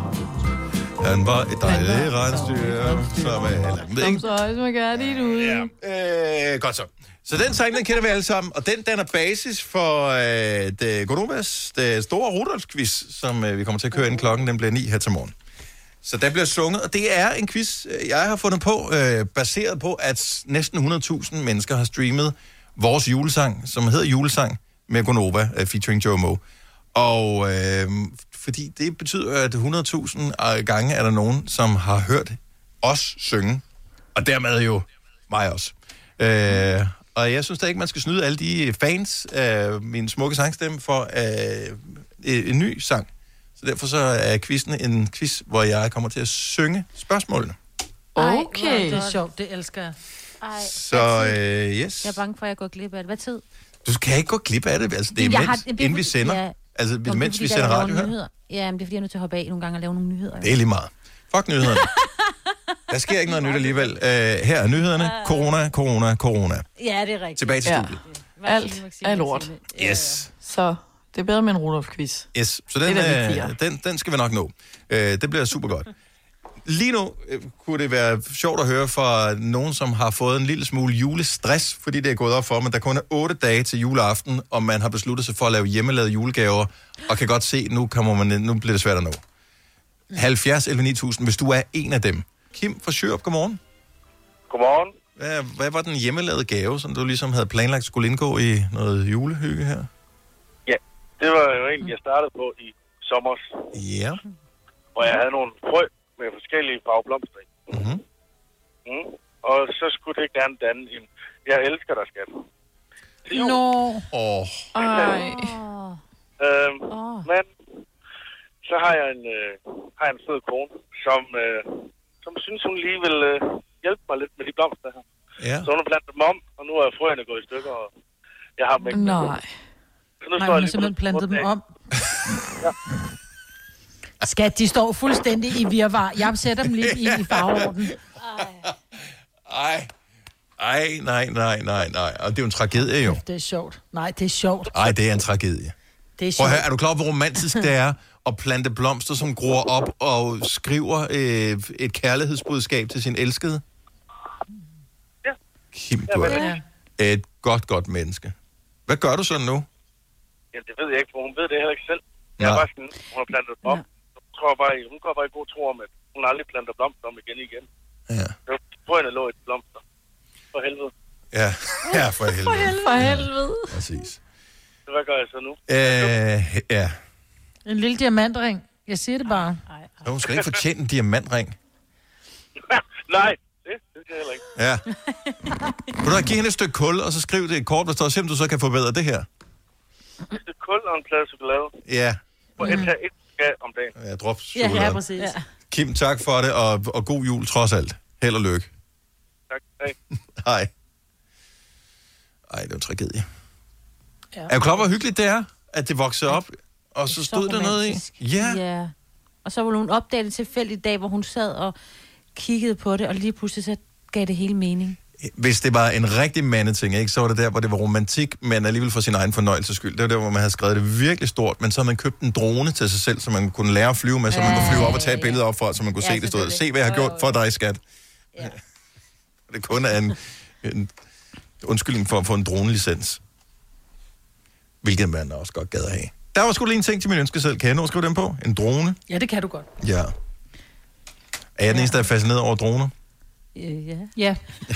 Han var et dejligt rensdyr, som er... Ved Kom ikke? så ligesom højt, man gør dit ud. Ja. Øh, godt så. Så den sang, den kender vi alle sammen, og den danner basis for øh, det, Godovas, det store Rudolf-quiz, som øh, vi kommer til at køre ind klokken, den bliver 9 her til morgen. Så der bliver sunget, og det er en quiz, øh, jeg har fundet på, øh, baseret på, at næsten 100.000 mennesker har streamet vores julesang, som hedder Julesang med Gonova, øh, featuring Joe Moe. Og øh, fordi det betyder, at 100.000 gange er der nogen, som har hørt os synge, og dermed jo mig også. Øh, og jeg synes da ikke, man skal snyde alle de fans af min smukke sangstemme for øh, en ny sang. Så derfor så er quizzen en quiz, hvor jeg kommer til at synge spørgsmålene. Okay. det er sjovt, det elsker jeg. Ej, Så øh, yes. jeg er bange for, at jeg går glip af det. Hvad tid? Du kan ikke gå glip af det. Altså, det er Jeg mens, har- har, det er inden vi fordi- sender. ja. Altså, Nå, det er mens fordi, vi der sender er lavet radio her. nyheder. Ja, men det er fordi, jeg er nødt til at hoppe af nogle gange og lave nogle nyheder. jo. Det er lige meget. Fuck nyhederne. Der sker ikke noget nyt alligevel. Øh, her er nyhederne. Corona, corona, corona. Ah. Ja, det er rigtigt. Tilbage til studiet. Alt er lort. Yes. Så det er bedre med en Rudolf-quiz. Yes, så Det den, er da mit øh, fire. den, den skal vi nok nå. Øh, det bliver super godt. Lige nu øh, kunne det være sjovt at høre fra nogen, som har fået en lille smule julestress, fordi det er gået op for dem, at der kun er otte dage til juleaften, og man har besluttet sig for at lave hjemmelavede julegaver, og kan godt se, nu kommer man ned, nu bliver det svært at nå. 70 11 9000, hvis du er en af dem. Kim fra Sjørup, godmorgen. Godmorgen. Hvad, hvad var den hjemmelavede gave, som du ligesom havde planlagt skulle indgå i noget julehygge her? Ja, det var jo egentlig, jeg startede på i sommer, Ja. hvor jeg havde nogle frø med forskellige farveblomster i. Mm-hmm. Mm. Og så skulle det gerne danne en... Jeg elsker dig, skat. Nå. Åh. Ej. Øhm, Men så har jeg en, øh, har jeg en sød kone, som, øh, som synes, hun lige vil øh, hjælpe mig lidt med de blomster her. Ja. Så hun har plantet dem om, og nu er frøerne gået i stykker, og jeg har dem ikke. Nej. Så Nej, står hun jeg har lige på simpelthen den plantet dem måde. om. Skat, de står fuldstændig i virvar. Jeg sætter dem lidt i, i farveorden. Ej. Ej, nej, nej, nej, nej. Og det er jo en tragedie, jo. Det er sjovt. Nej, det er sjovt. Ej, det er en tragedie. Det er Prøv sjovt. at høre, er du klar over, hvor romantisk det er at plante blomster, som gror op og skriver øh, et kærlighedsbudskab til sin elskede? Kim, du er Ja. et godt, godt menneske. Hvad gør du så nu? Jamen, det ved jeg ikke, for hun ved det heller ikke selv. Jeg er Nej. bare sådan, hun har plantet dem om. Hun går bare i, hun går bare i god tro om, at hun aldrig planter blomster om igen igen. Ja. Så frøerne lå i de blomster. For helvede. Ja, ja for helvede. For helvede. Præcis. Så hvad gør jeg så nu? Øh, ja. En lille diamantring. Jeg siger det bare. Nå, Hun skal ikke fortjene en diamantring. Nej, det, det skal jeg heller ikke. Ja. Kan du da give hende et stykke kul, og så skriv det i et kort, hvor der står, se om du så kan forbedre det her. Et stykke kul og en plade chokolade. Ja, Og et, her- et skal om dagen. ja drop chokolade. Ja. Kim, tak for det, og, og god jul trods alt. Held og lykke. Tak. Hej. Hej. Ej, det er en tragedie. Ja. Er du klar, over, hvor hyggeligt det er, at det vokser op, og så stod der noget i? Ja. ja. ja. Og så ville hun opdage det tilfældigt dag, hvor hun sad og kiggede på det, og lige pludselig så gav det hele mening. Hvis det var en rigtig mandeting, ikke, så var det der, hvor det var romantik, men alligevel for sin egen fornøjelses skyld. Det var der, hvor man havde skrevet det virkelig stort, men så havde man købt en drone til sig selv, så man kunne lære at flyve med, så man kunne flyve op og tage et billede op for, så man kunne Ja, se det stod. Se, selvfølgelig. hvad jeg har gjort for dig, skat. Ja. Det kun er en, en undskyldning for at få en dronelicens. Hvilket man også godt gad at have. Der var sgu lige en ting til min ønskeseddel. Kan jeg nå at skrive den på? En drone? Ja, det kan du godt. Ja. Er jeg den eneste, der er fascineret over droner? Øh, ja. ja.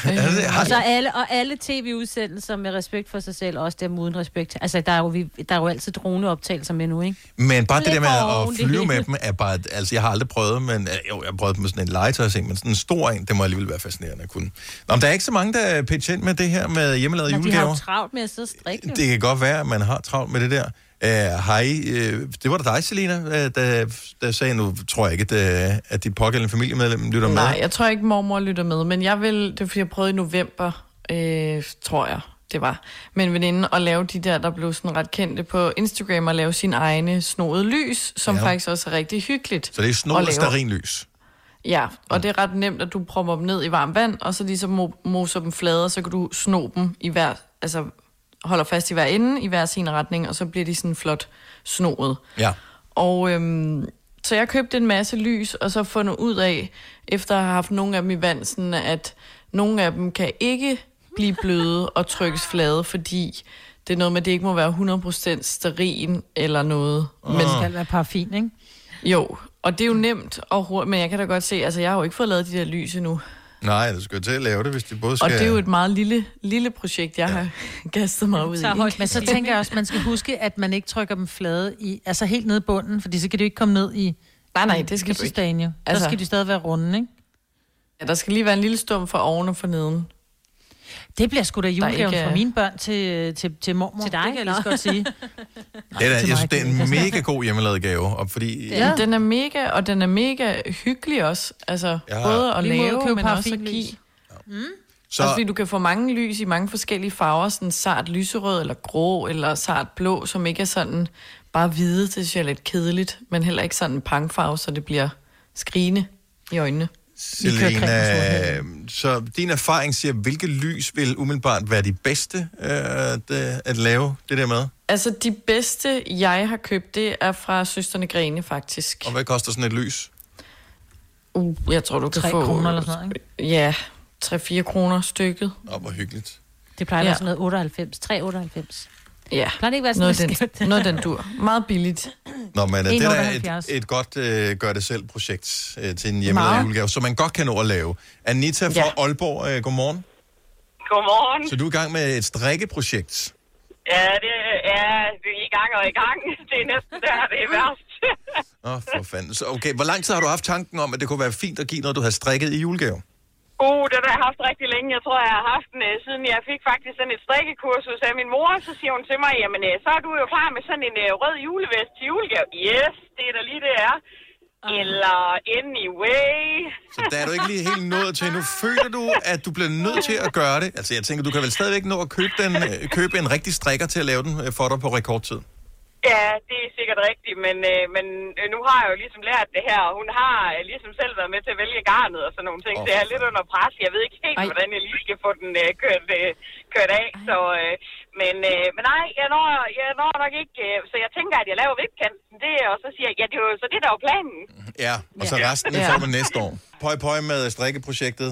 Er det det? Har- Og, så alle, og alle tv-udsendelser med respekt for sig selv, og også dem uden respekt. Altså, der er jo, vi, der er jo altid droneoptagelser med nu, ikke? Men bare det der med Lidt oven at det flyve hele. med dem, er bare, altså jeg har aldrig prøvet, men øh, jo, jeg har prøvet dem med sådan en legetøjsing, men sådan en stor en, det må alligevel være fascinerende at kunne. Nå, men der er ikke så mange, der pitcher ind med det her med hjemmelavede Men de har jo julegaver. travlt med at sidde og strikke. jo. Det kan godt være, at man har travlt med det der. Øh, Hej, øh, det var da dig, Selina, øh, der, der sagde, nu tror jeg ikke, at, øh, at dit pågældende familiemedlem lytter med. Nej, jeg tror ikke, mormor lytter med, men jeg vil, det er fordi, jeg prøvede i november, øh, tror jeg, det var, med en veninde at lave de der, der blev sådan ret kendte på Instagram, og lave sin egne snoede lys, som Ja. ja. faktisk også er rigtig hyggeligt. Så det er at snor og lave. starinlys. Ja, og det er ret nemt, at du propper dem ned i varmt vand, og så ligesom mo- moser dem flade, og så kan du sno dem i hver, altså holder fast i hver ende, i hver sin retning, og så bliver de sådan flot snoet. Ja. Og øhm, så jeg købte en masse lys, og så fundet ud af, efter at have haft nogle af dem i vand, sådan at nogle af dem kan ikke blive bløde og trykkes flade, fordi det er noget med, at det ikke må være 100% sterin eller noget. Men det skal være paraffin, ikke? Jo, og det er jo nemt og hurtigt, men jeg kan da godt se, altså jeg har jo ikke fået lavet de der lys endnu. Nej, du skal jo til at lave det, hvis de både skal... Og det er jo et meget lille, lille projekt, jeg ja. har kastet mig ud i. ikke? Men så tænker jeg også, at man skal huske, at man ikke trykker dem flade i, altså helt ned i bunden, fordi så kan de ikke komme ned i Nej, nej, det skal du ikke. lysestagen jo. Altså, Altså- så skal de stadig være runde, ikke? Ja, der skal lige være en lille stum for oven og for neden. Det bliver sgu da julegaven ikke er- fra mine børn til, til, til mormor. Til dig, det kan jeg lige så godt sige. Det er, da- til jeg mig synes, det er en kan jeg ikke. mega god hjemmelavet gave, og fordi... Ja. Den er mega, og den er mega hyggelig også. Altså, Ja. ja. både at Lige måde at lave, købe men også at paraffinlys. give. Så- Mm? Så... Også fordi du kan få mange lys i mange forskellige farver, sådan sart lyserød, eller grå, eller sart blå, som ikke er sådan bare hvide, det synes jeg er lidt kedeligt, men heller ikke sådan en pangfarve, så det bliver skrigende i øjnene. Selena, så din erfaring siger, hvilke lys vil umiddelbart være de bedste øh, at, øh, at lave det der med? Altså, de bedste, jeg har købt, det er fra Søsterne Grene, faktisk. Og hvad koster sådan et lys? Uh, jeg tror, du kan Tre få... kroner eller sådan noget, ikke? Ja, 3-4 kroner stykket. Åh, hvor hyggeligt. Det plejer at Ja. være sådan noget 98, 398. Ja. Plejer det ikke at være sådan noget, lidt skævt? den, noget den dur. Meget billigt. Uh, Nå, men øh, det er da et, 1,78. et godt øh, gør-det-selv-projekt øh, til en hjemmelavet Meget. julegave, som man godt kan nå at lave. Anita fra ja. Aalborg, øh, godmorgen. Godmorgen. Så du er i gang med et strikkeprojekt. Ja, det er vi er i gang og i gang. Det er næsten der, det er værst. Åh, oh, for fanden. Så, okay, hvor lang tid har du haft tanken om, at det kunne være fint at give noget, du havde strikket i julegave? Uh, det har jeg haft rigtig længe. Jeg tror, jeg har haft den, øh, siden jeg fik faktisk sådan et strikkekursus af min mor. Så siger hun til mig, jamen øh, så er du jo klar med sådan en øh, rød julevest til julegave. Yes, det er da lige det er. Eller anyway. Så der er du ikke lige helt nået til. Nu føler du, at du bliver nødt til at gøre det. Altså, jeg tænker, du kan vel stadigvæk nå at købe, den, øh, købe en rigtig strikker til at lave den øh, for dig på rekordtid. Ja, det er sikkert rigtigt, men, øh, men øh, nu har jeg jo ligesom lært det her, og hun har øh, ligesom selv været med til at vælge garnet og sådan nogle ting, oh, så jeg er lidt under pres. Jeg ved ikke helt, Ej. hvordan jeg lige skal få den øh, kørt, øh, kørt af, så, øh, men, øh, men nej, jeg når, jeg når nok ikke, øh, så jeg tænker, at jeg laver vipkanten det, og så siger jeg, ja, det er jo så det, der er jo planen. Ja, og så resten det Ja. får man næste år. Pøj, pøj med strikkeprojektet.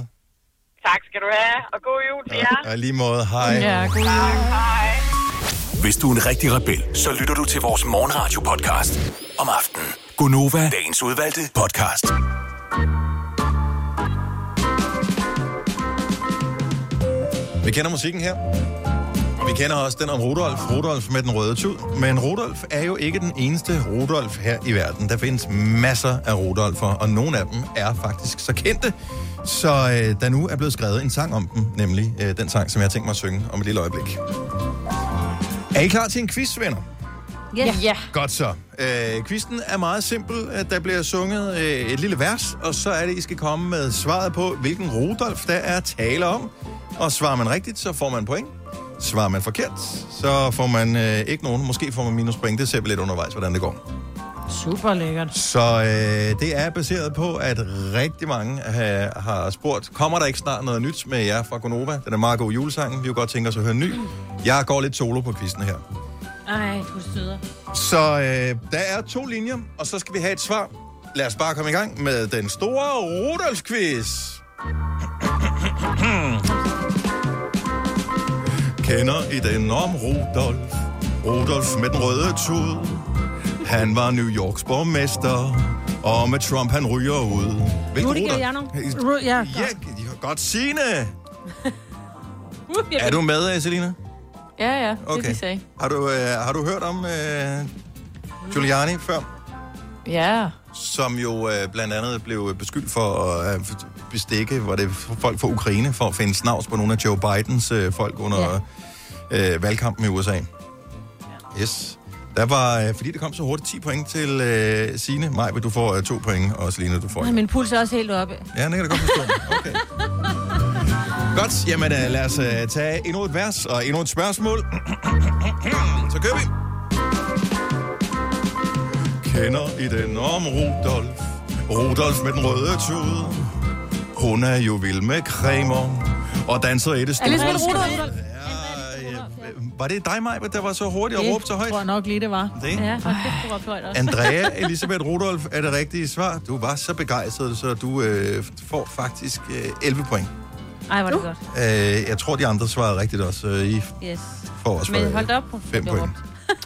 Tak skal du have, og god jul til jer. Og, og i lige måde, hej. Tak, hej. Hvis du er en rigtig rebel, så lytter du til vores morgenradio-podcast om aftenen. Gunova, dagens udvalgte podcast. Vi kender musikken her. Vi kender også den om Rudolf. Rudolf med den røde tud. Men Rudolf er jo ikke den eneste Rudolf her i verden. Der findes masser af Rudolfer, og nogle af dem er faktisk så kendte. Så øh, der nu er blevet skrevet en sang om dem, nemlig øh, den sang, som jeg har tænkt mig at synge om et lille øjeblik. Er I klar til en quiz, venner? Ja. ja. Godt så. Øh, quizzen er meget simpel. Øh, Der bliver sunget øh, et lille vers, og så er det, I skal komme med svaret på, hvilken Rudolf der er tale om. Og svarer man rigtigt, så får man point. Svarer man forkert, så får man øh, ikke nogen. Måske får man minuspoint. Det ser vi lidt undervejs, hvordan det går. Super lækkert. Så øh, det er baseret på, at rigtig mange ha- har spurgt, kommer der ikke snart noget nyt med jer fra Gonova? Den er meget god julesang. Vi kunne godt tænke os at høre en ny. Jeg går lidt solo på quizzen her. Ej, du er søder. Så øh, der er to linjer, og så skal vi have et svar. Lad os bare komme i gang med den store Rudolf-quiz. Kender I den om Rudolf? Rudolf med den røde tud. Han var New Yorks borgmester, og med Trump han ryger ud. Rudolf? Ru- ja, Ja, godt Signe. Uh, Er du med, Selina? Ja, ja, det okay. de sagde. Har du, øh, har du hørt om øh, Giuliani før? Ja. som jo øh, blandt andet blev beskyldt for at øh, bestikke var det folk fra Ukraine for at finde snavs på nogle af Joe Bidens øh, folk under ja. øh, valgkampen i USA. Yes. Der var, øh, fordi det kom så hurtigt, 10 point til øh, Signe. Maj, du får øh, 2 point, og Selina, du får Nej, min puls er også helt oppe. Ja, det kan jeg godt forstå. Okay. Godt, jamen øh, lad os øh, tage endnu et vers og endnu et spørgsmål. Så kører vi. Kender I den om Rudolf? Rudolf med den røde tude. Hun er jo vild med cremer og danser i det store. Rudolf. Var det dig, Maja, der var så hurtig og råbte så højt? tror jeg nok lige, det var. Det? Ja, for fedt, du råbte højt også. Andrea Elisabeth Rudolf er det rigtige svar. Du var så begejstret, så du øh, får faktisk øh, 11 point. Ej, hvor er det godt. Øh, jeg tror, de andre svarede rigtigt også. Øh, I Yes. får også Men øh, hold da op, hun fem blev point.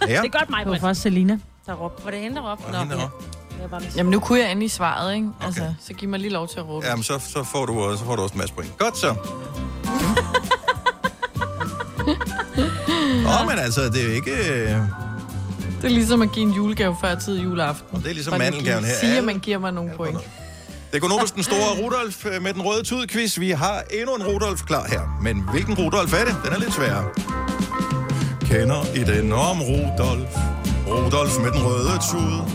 råbt. Ja. Det er godt mig, Det var Britt. faktisk Selina. Der råbte. Var det hende, der råbte? Nå, hende, der ja. Jeg var lidt- Jamen, nu kunne jeg endelig svaret, ikke? Altså, okay. så giv mig lige lov til at råbe. Jamen, så, så, får du, øh, så får du også en masse point. Godt så. Åh, men altså, det er jo ikke... Øh, Det er ligesom at give en julegave før tid juleaften. Og det er ligesom Bare lige mandelgaven give- her. Sige, at Alle- man giver mig nogle point. det er Gonobus, den store Rudolf øh, med den røde tudquiz. Vi har endnu en Rudolf klar her. Men hvilken Rudolf er det? Den er lidt sværere. Kender I den om Rudolf? Rudolf med den røde tud.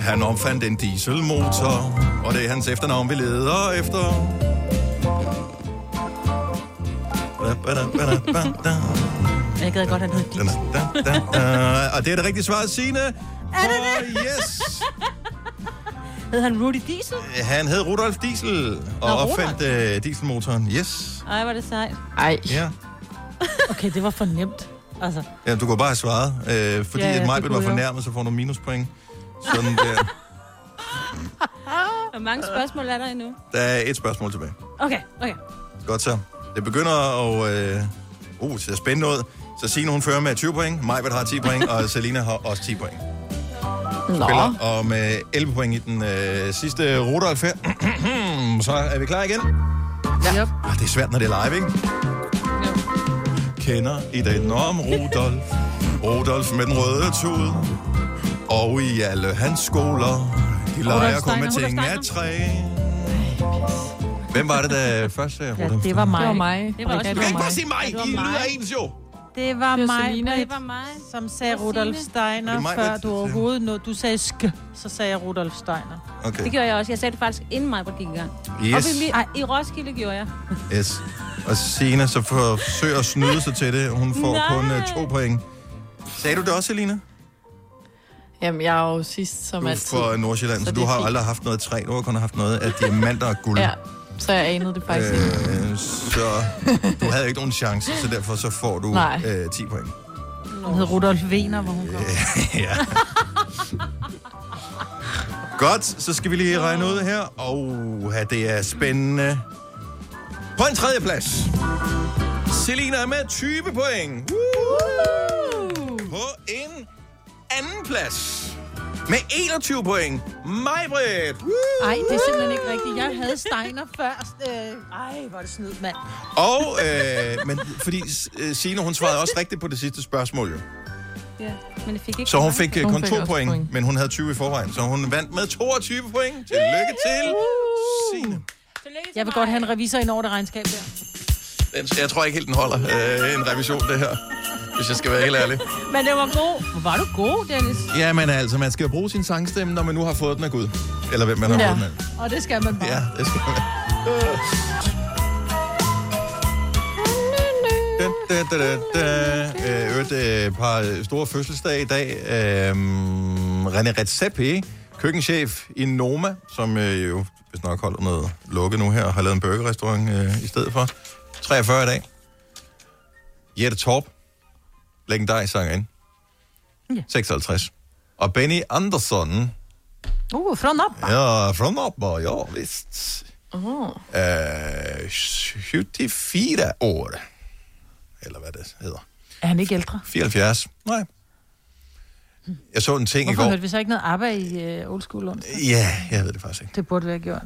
Han opfandt en dieselmotor, og det er hans efternavn, vi leder efter. Ba, ba, da, ba, da, ba, da. Jeg gad godt, at han hed Da, da, da, da. Og det er det rigtige svar, Signe. Er det det? yes. Hed han Rudy Diesel? Han hed Rudolf Diesel og Nå, opfandt øh, dieselmotoren. Yes. Ej, var det sejt. Ej. Ja. Okay, det var for nemt. Altså, ja, du kunne bare have svaret. Øh, fordi Ja, ja, ja, ja, at det Majbet kunne var jeg. fornærmet, så får du minuspoint. Sådan der. Hvor mange spørgsmål er der endnu? Der er et spørgsmål tilbage. Okay, okay. Godt så. Det begynder at... Øh, uh, se spændende ud. Så Signe, hun fører med 20 point. Majbert har 10 point, og Selina har også 10 point. Spiller, og med 11 point i den øh, sidste Rudolf her. så er vi klar igen. Ja. Ah, det er svært, når det er live, ikke? Kender i den om Rudolf. Rudolf med den røde tud. Og i alle hans skoler. De leger Rudolf kun med Steiner, ting af Rudolf træ. Hvem var det, der først sagde Ja, Rudolf? det var mig. Det var mig. Det var også Du kan mig. ikke bare sige mig. Ja, det var I lyder mig. ens jo. Det var Det var mig, Selina. Britt, Det var som sagde Og Rudolf Signe. Steiner, Det er mig, før Britt, du overhovedet nåede. Du sagde sk, så sagde jeg Rudolf Steiner. Okay. Det gjorde jeg også. Jeg sagde det faktisk inden mig, gik i gang. Yes. Og vi, ej, i Roskilde gjorde jeg. Yes. Og Sina så forsøger at snyde sig til det. Hun får Nej. Nej. kun uh, to point. Sagde du det også, Selina? Jamen, jeg er jo sidst som Du er altid. fra Nordsjælland, Så så, så det du er har fint. aldrig haft noget træ. Du har kun haft noget af diamanter og guld. Ja, så jeg anede det faktisk øh. ikke. Øh, så du havde ikke nogen chance, så derfor så får du Nej. øh, 10 point. Hun hed Rudolf Vener, hvor hun kom. ja. Godt, så skal vi lige regne ud her. Og det er spændende. På en tredje plads. Selina er med 20 point. Woo! På en anden plads. Med 21 point. Majbrit. Woo! Nej, det er simpelthen ikke rigtigt. Jeg havde Steiner først. Øh, Ej, hvor er det snydt, mand. Og, øh, men fordi øh, Signe, hun svarede også rigtigt på det sidste spørgsmål, jo. Ja. Men det fik ikke Så hun mange. fik øh, kun to point, point, men hun havde 20 i forvejen. Så hun vandt med 22 point. Tillykke til Signe. Uh. Jeg vil godt have en revisor ind over det regnskab der. Den- Jeg tror ikke helt, den holder øh, en revision, det her. Hvis jeg skal være helt ærlig. Men det var god. Hvor var du god, Dennis? Ja, men altså, man skal jo bruge sin sangstemme, når man nu har fået den af Gud. Eller hvem man har fået den af. Og det skal man bare. Ja, det skal man. Da, da, da, da, da. Øh, øvrigt, øh, et par store fødselsdage i dag. Øhm, René Redzepi, køkkenchef i Noma, som øh, jo hvis nok holder noget lukket nu her, og har lavet en burgerrestaurant øh, i stedet for. 43 i dag. Jette Torp, legendarisk sangerinde. Ja. 56. Og Benny Andersson, Uh, fra Noppa. ja, fra Noppa, ja, vist. Uh. Øh, 74 år. Eller hvad det hedder. Er han ikke ældre? 74. Nej. Jeg så en ting i Hvorfor går. hørte vi så ikke noget ABBA i uh, Old School onsdag? Ja, jeg ved det faktisk ikke. Det burde vi have gjort.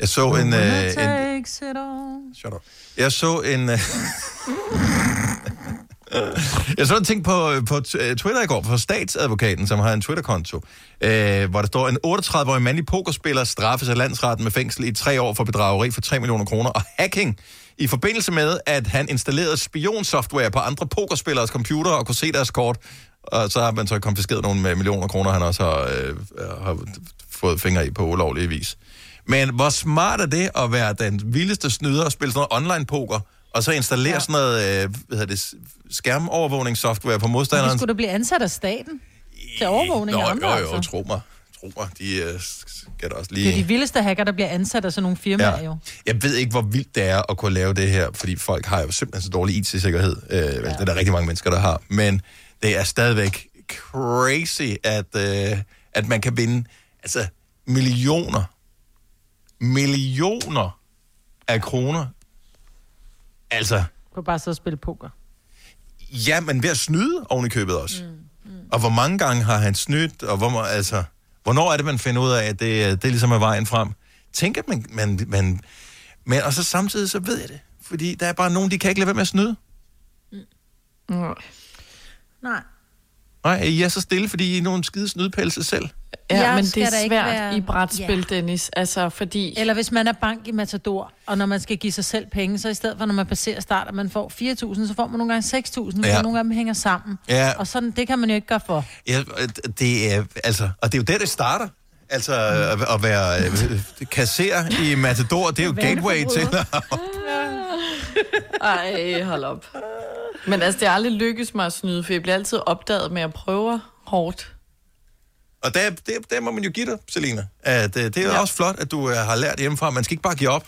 Jeg så en... Øh, It en takes it all. shut up. Jeg så en... Øh, jeg så en ting på, på t- øh, Twitter i går fra statsadvokaten, som har en Twitter-konto, øh, hvor der står, en 38-årig mandlig pokerspiller straffes af landsretten med fængsel i tre år for bedrageri for 3 millioner kroner og hacking i forbindelse med, at han installerede spionsoftware på andre pokerspilleres computer og kunne se deres kort. Og så har man så konfiskeret nogle øh, millioner kroner, han også har, øh, har fået fingre i på ulovlig vis. Men hvor smart er det at være den vildeste snyder og spille sådan noget online-poker, og så installere ja. sådan noget øh, hvad hedder det, s- skærmovervågningssoftware på Vi modstanderen? skulle da blive ansat af staten til overvågning af andre, jo, jo, jo, altså. tro mig. Tro mig, de øh, skal da også Det er de lige... vildeste hacker, der bliver ansat af sådan nogle firmaer, Ja. jo. Jeg ved ikke, hvor vildt det er at kunne lave det her, fordi folk har jo simpelthen så dårlig IT-sikkerhed. Øh, ja. Det er der rigtig mange mennesker, der har. Men det er stadigvæk crazy, at, øh, at man kan vinde altså, millioner, millioner af kroner. Altså, Du kan bare sidde og spille poker. ja, men ved at snyde oven i købet også. Mm. Mm. Og hvor mange gange har han snydt, og hvor, må- altså, hvornår er det, man finder ud af, at det, er- det ligesom er vejen frem? Tænk, at man, man, man... Men, og så samtidig, så ved jeg det. Fordi der er bare nogen, de kan ikke lade være med at snyde. Nej. Nej, I er så stille, fordi I er nogle skide snydpælse selv. Ja, Jeg men det skal da er ikke svært være- være... i brætspil, Ja. yeah. Dennis. Altså, fordi... Eller hvis man er bank i Matador, og når man skal give sig selv penge, så i stedet for, når man passerer start, og man får 4.000, så får man nogle gange 6.000, ja. Ja. og nogle af dem hænger sammen. Ja. Og sådan, det kan man jo ikke gøre for. Ja, øh, det er, altså, og det er jo der, det starter. Altså, at, at være øh, kasserer i Matador, det er jo gateway til at Ej, hold op. Men altså, det er aldrig lykkedes mig at snyde, for jeg bliver altid opdaget med at prøve hårdt. Og der, der, der må man jo give dig, Selina. At, øh, det er ja. også flot, at du øh, har lært hjemmefra. Man skal ikke bare give op.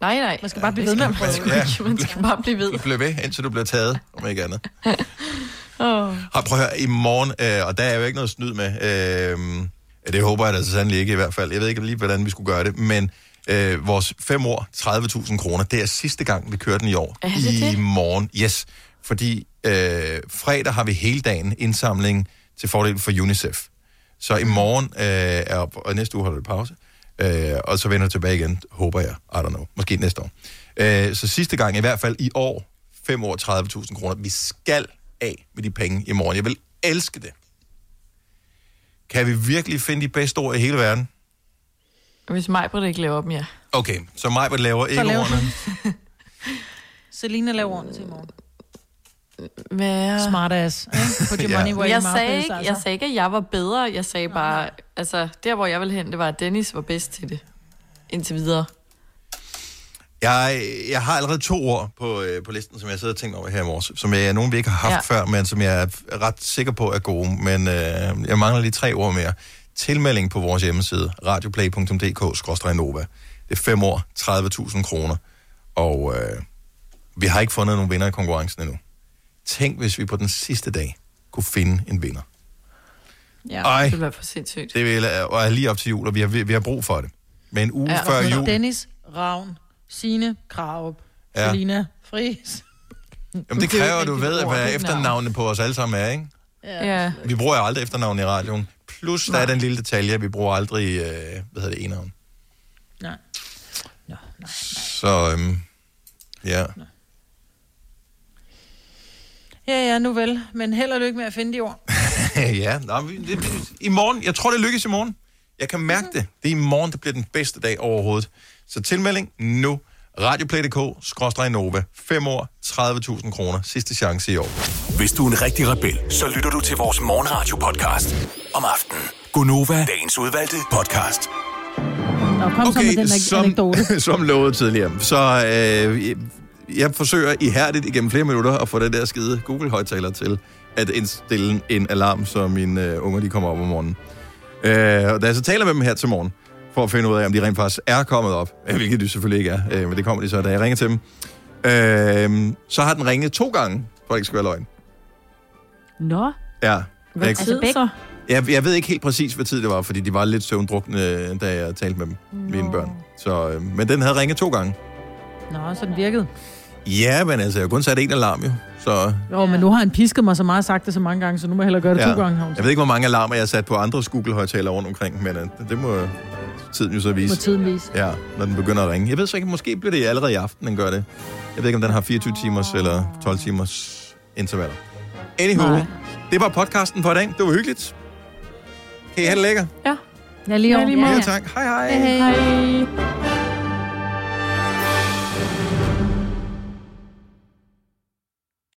Nej, nej. Man skal bare blive ved med at prøve. ja. Man skal bare blive ved. Du bliver ved, indtil du bliver taget, om ikke andet. Åh. Har, prøv at høre, i morgen, øh, og der er jo ikke noget snyd med, øh, Ja, Det håber jeg da så sandelig ikke i hvert fald. Jeg ved ikke lige, hvordan vi skulle gøre det, men øh, vores fem år, 30.000 kroner, det er sidste gang, vi kører den i år. Er det I det? morgen, yes. Fordi øh, fredag har vi hele dagen indsamling til fordel for UNICEF. Så i morgen øh, er op, og næste uge holder vi pause. Øh, og så vender vi tilbage igen, håber jeg. I don't know. Måske næste år. Øh, så sidste gang, i hvert fald i år, 5 år, 30.000 kroner. Vi skal af med de penge i morgen. Jeg vil elske det. Kan vi virkelig finde de bedste ord i hele verden? Hvis Majbrit ikke laver dem, ja. Okay, så Majbert laver ikke laver ordene. Selina laver ordene til i morgen. Hvad? Smartass. ikke? Put your money where your jeg, mouth sagde is, ikke, altså. jeg sagde ikke, at jeg var bedre. Jeg sagde bare, altså, der hvor jeg ville hen, det var, at Dennis var bedst til det. Indtil videre. Jeg, jeg har allerede to ord på, øh, på listen, som jeg sidder og tænker over her i morges, som jeg, nogen vi ikke har haft ja. før, men som jeg er ret sikker på er gode, men øh, jeg mangler lige tre ord mere. Tilmelding på vores hjemmeside, radioplay.dk-nova. Det er fem år, 30.000 kroner, og øh, vi har ikke fundet nogen vinder i konkurrencen endnu. Tænk, hvis vi på den sidste dag kunne finde en vinder. Ja, Ej. det ville være for sindssygt. Det vil, og er lige op til jul, og vi har, vi har brug for det. Men en uge Ja, ja, og før så jul... Dennis, Ravn, Signe, Krarup, Ja. ja. Selina, Friis. Jamen, det er jo kræver, ikke du rigtigt ved, ord, det hvad er et efternavnene på os alle sammen er, ikke? navn. Ja. Vi bruger jo aldrig efternavn i radioen. Plus, der er den lille detalje, at vi bruger aldrig, øh, hvad hedder det, enavn. Nej. Så, øhm, ja. Ja, ja, nu vel. Men held og lykke med at finde de ord. ja, nå, vi- det, det- i morgen, jeg tror, det lykkes i morgen. Jeg kan Mhm. mærke det. Det er i morgen, der bliver den bedste dag overhovedet. Så tilmelding nu. Radioplay.dk, skråstrej Nova. 5 år, 30.000 kroner. Sidste chance i år. Hvis du er en rigtig rebel, så lytter du til vores morgenradio-podcast om aftenen. Gunova, dagens udvalgte podcast. Nå, kom okay, så med den ane- anekdote. som lovet tidligere. Så øh, jeg, jeg forsøger ihærdigt igennem flere minutter at få den der skide Google-højtaler til at indstille en alarm, så mine øh, unger de kommer op om morgenen. Øh, og da jeg så taler med dem her til morgen, for at finde ud af, om de rent faktisk er kommet op, øh, hvilket de selvfølgelig ikke er, øh, men det kommer de så, da jeg ringer til dem, øh, så har den ringet to gange, for at det ikke skal være løgn. Nå, Ja. hvad Jeg- tid så? jeg, jeg ved ikke helt præcis, hvad tid det var, fordi de var lidt søvndrukne, da jeg talte med dem, mine børn. Så, øh, men den havde ringet to gange. Nå, så den virkede. Ja, men altså, jeg har kun sat en alarm jo. Så, Jo, men nu har han pisket mig så meget og sagt det så mange gange, så nu må jeg hellere gøre det ja. ja. to gange. har hun Jeg ved ikke, hvor mange alarmer jeg har sat på andre Google-højtaler rundt omkring, men øh, det må øh, tiden jo så sagt. vise. Må tiden vise. Ja, når den begynder at ringe. Jeg ved så ikke, måske bliver det allerede i aften, den gør det. Jeg ved ikke, om den har 24 timers eller 12 timers intervaller. Anywho, Nej. det var podcasten for i dag. Det var hyggeligt. Kan I have det lækker? Ja. Ja, lige, Ja, over. lige måde. Ja, tak. Hej, hej. hej. hej.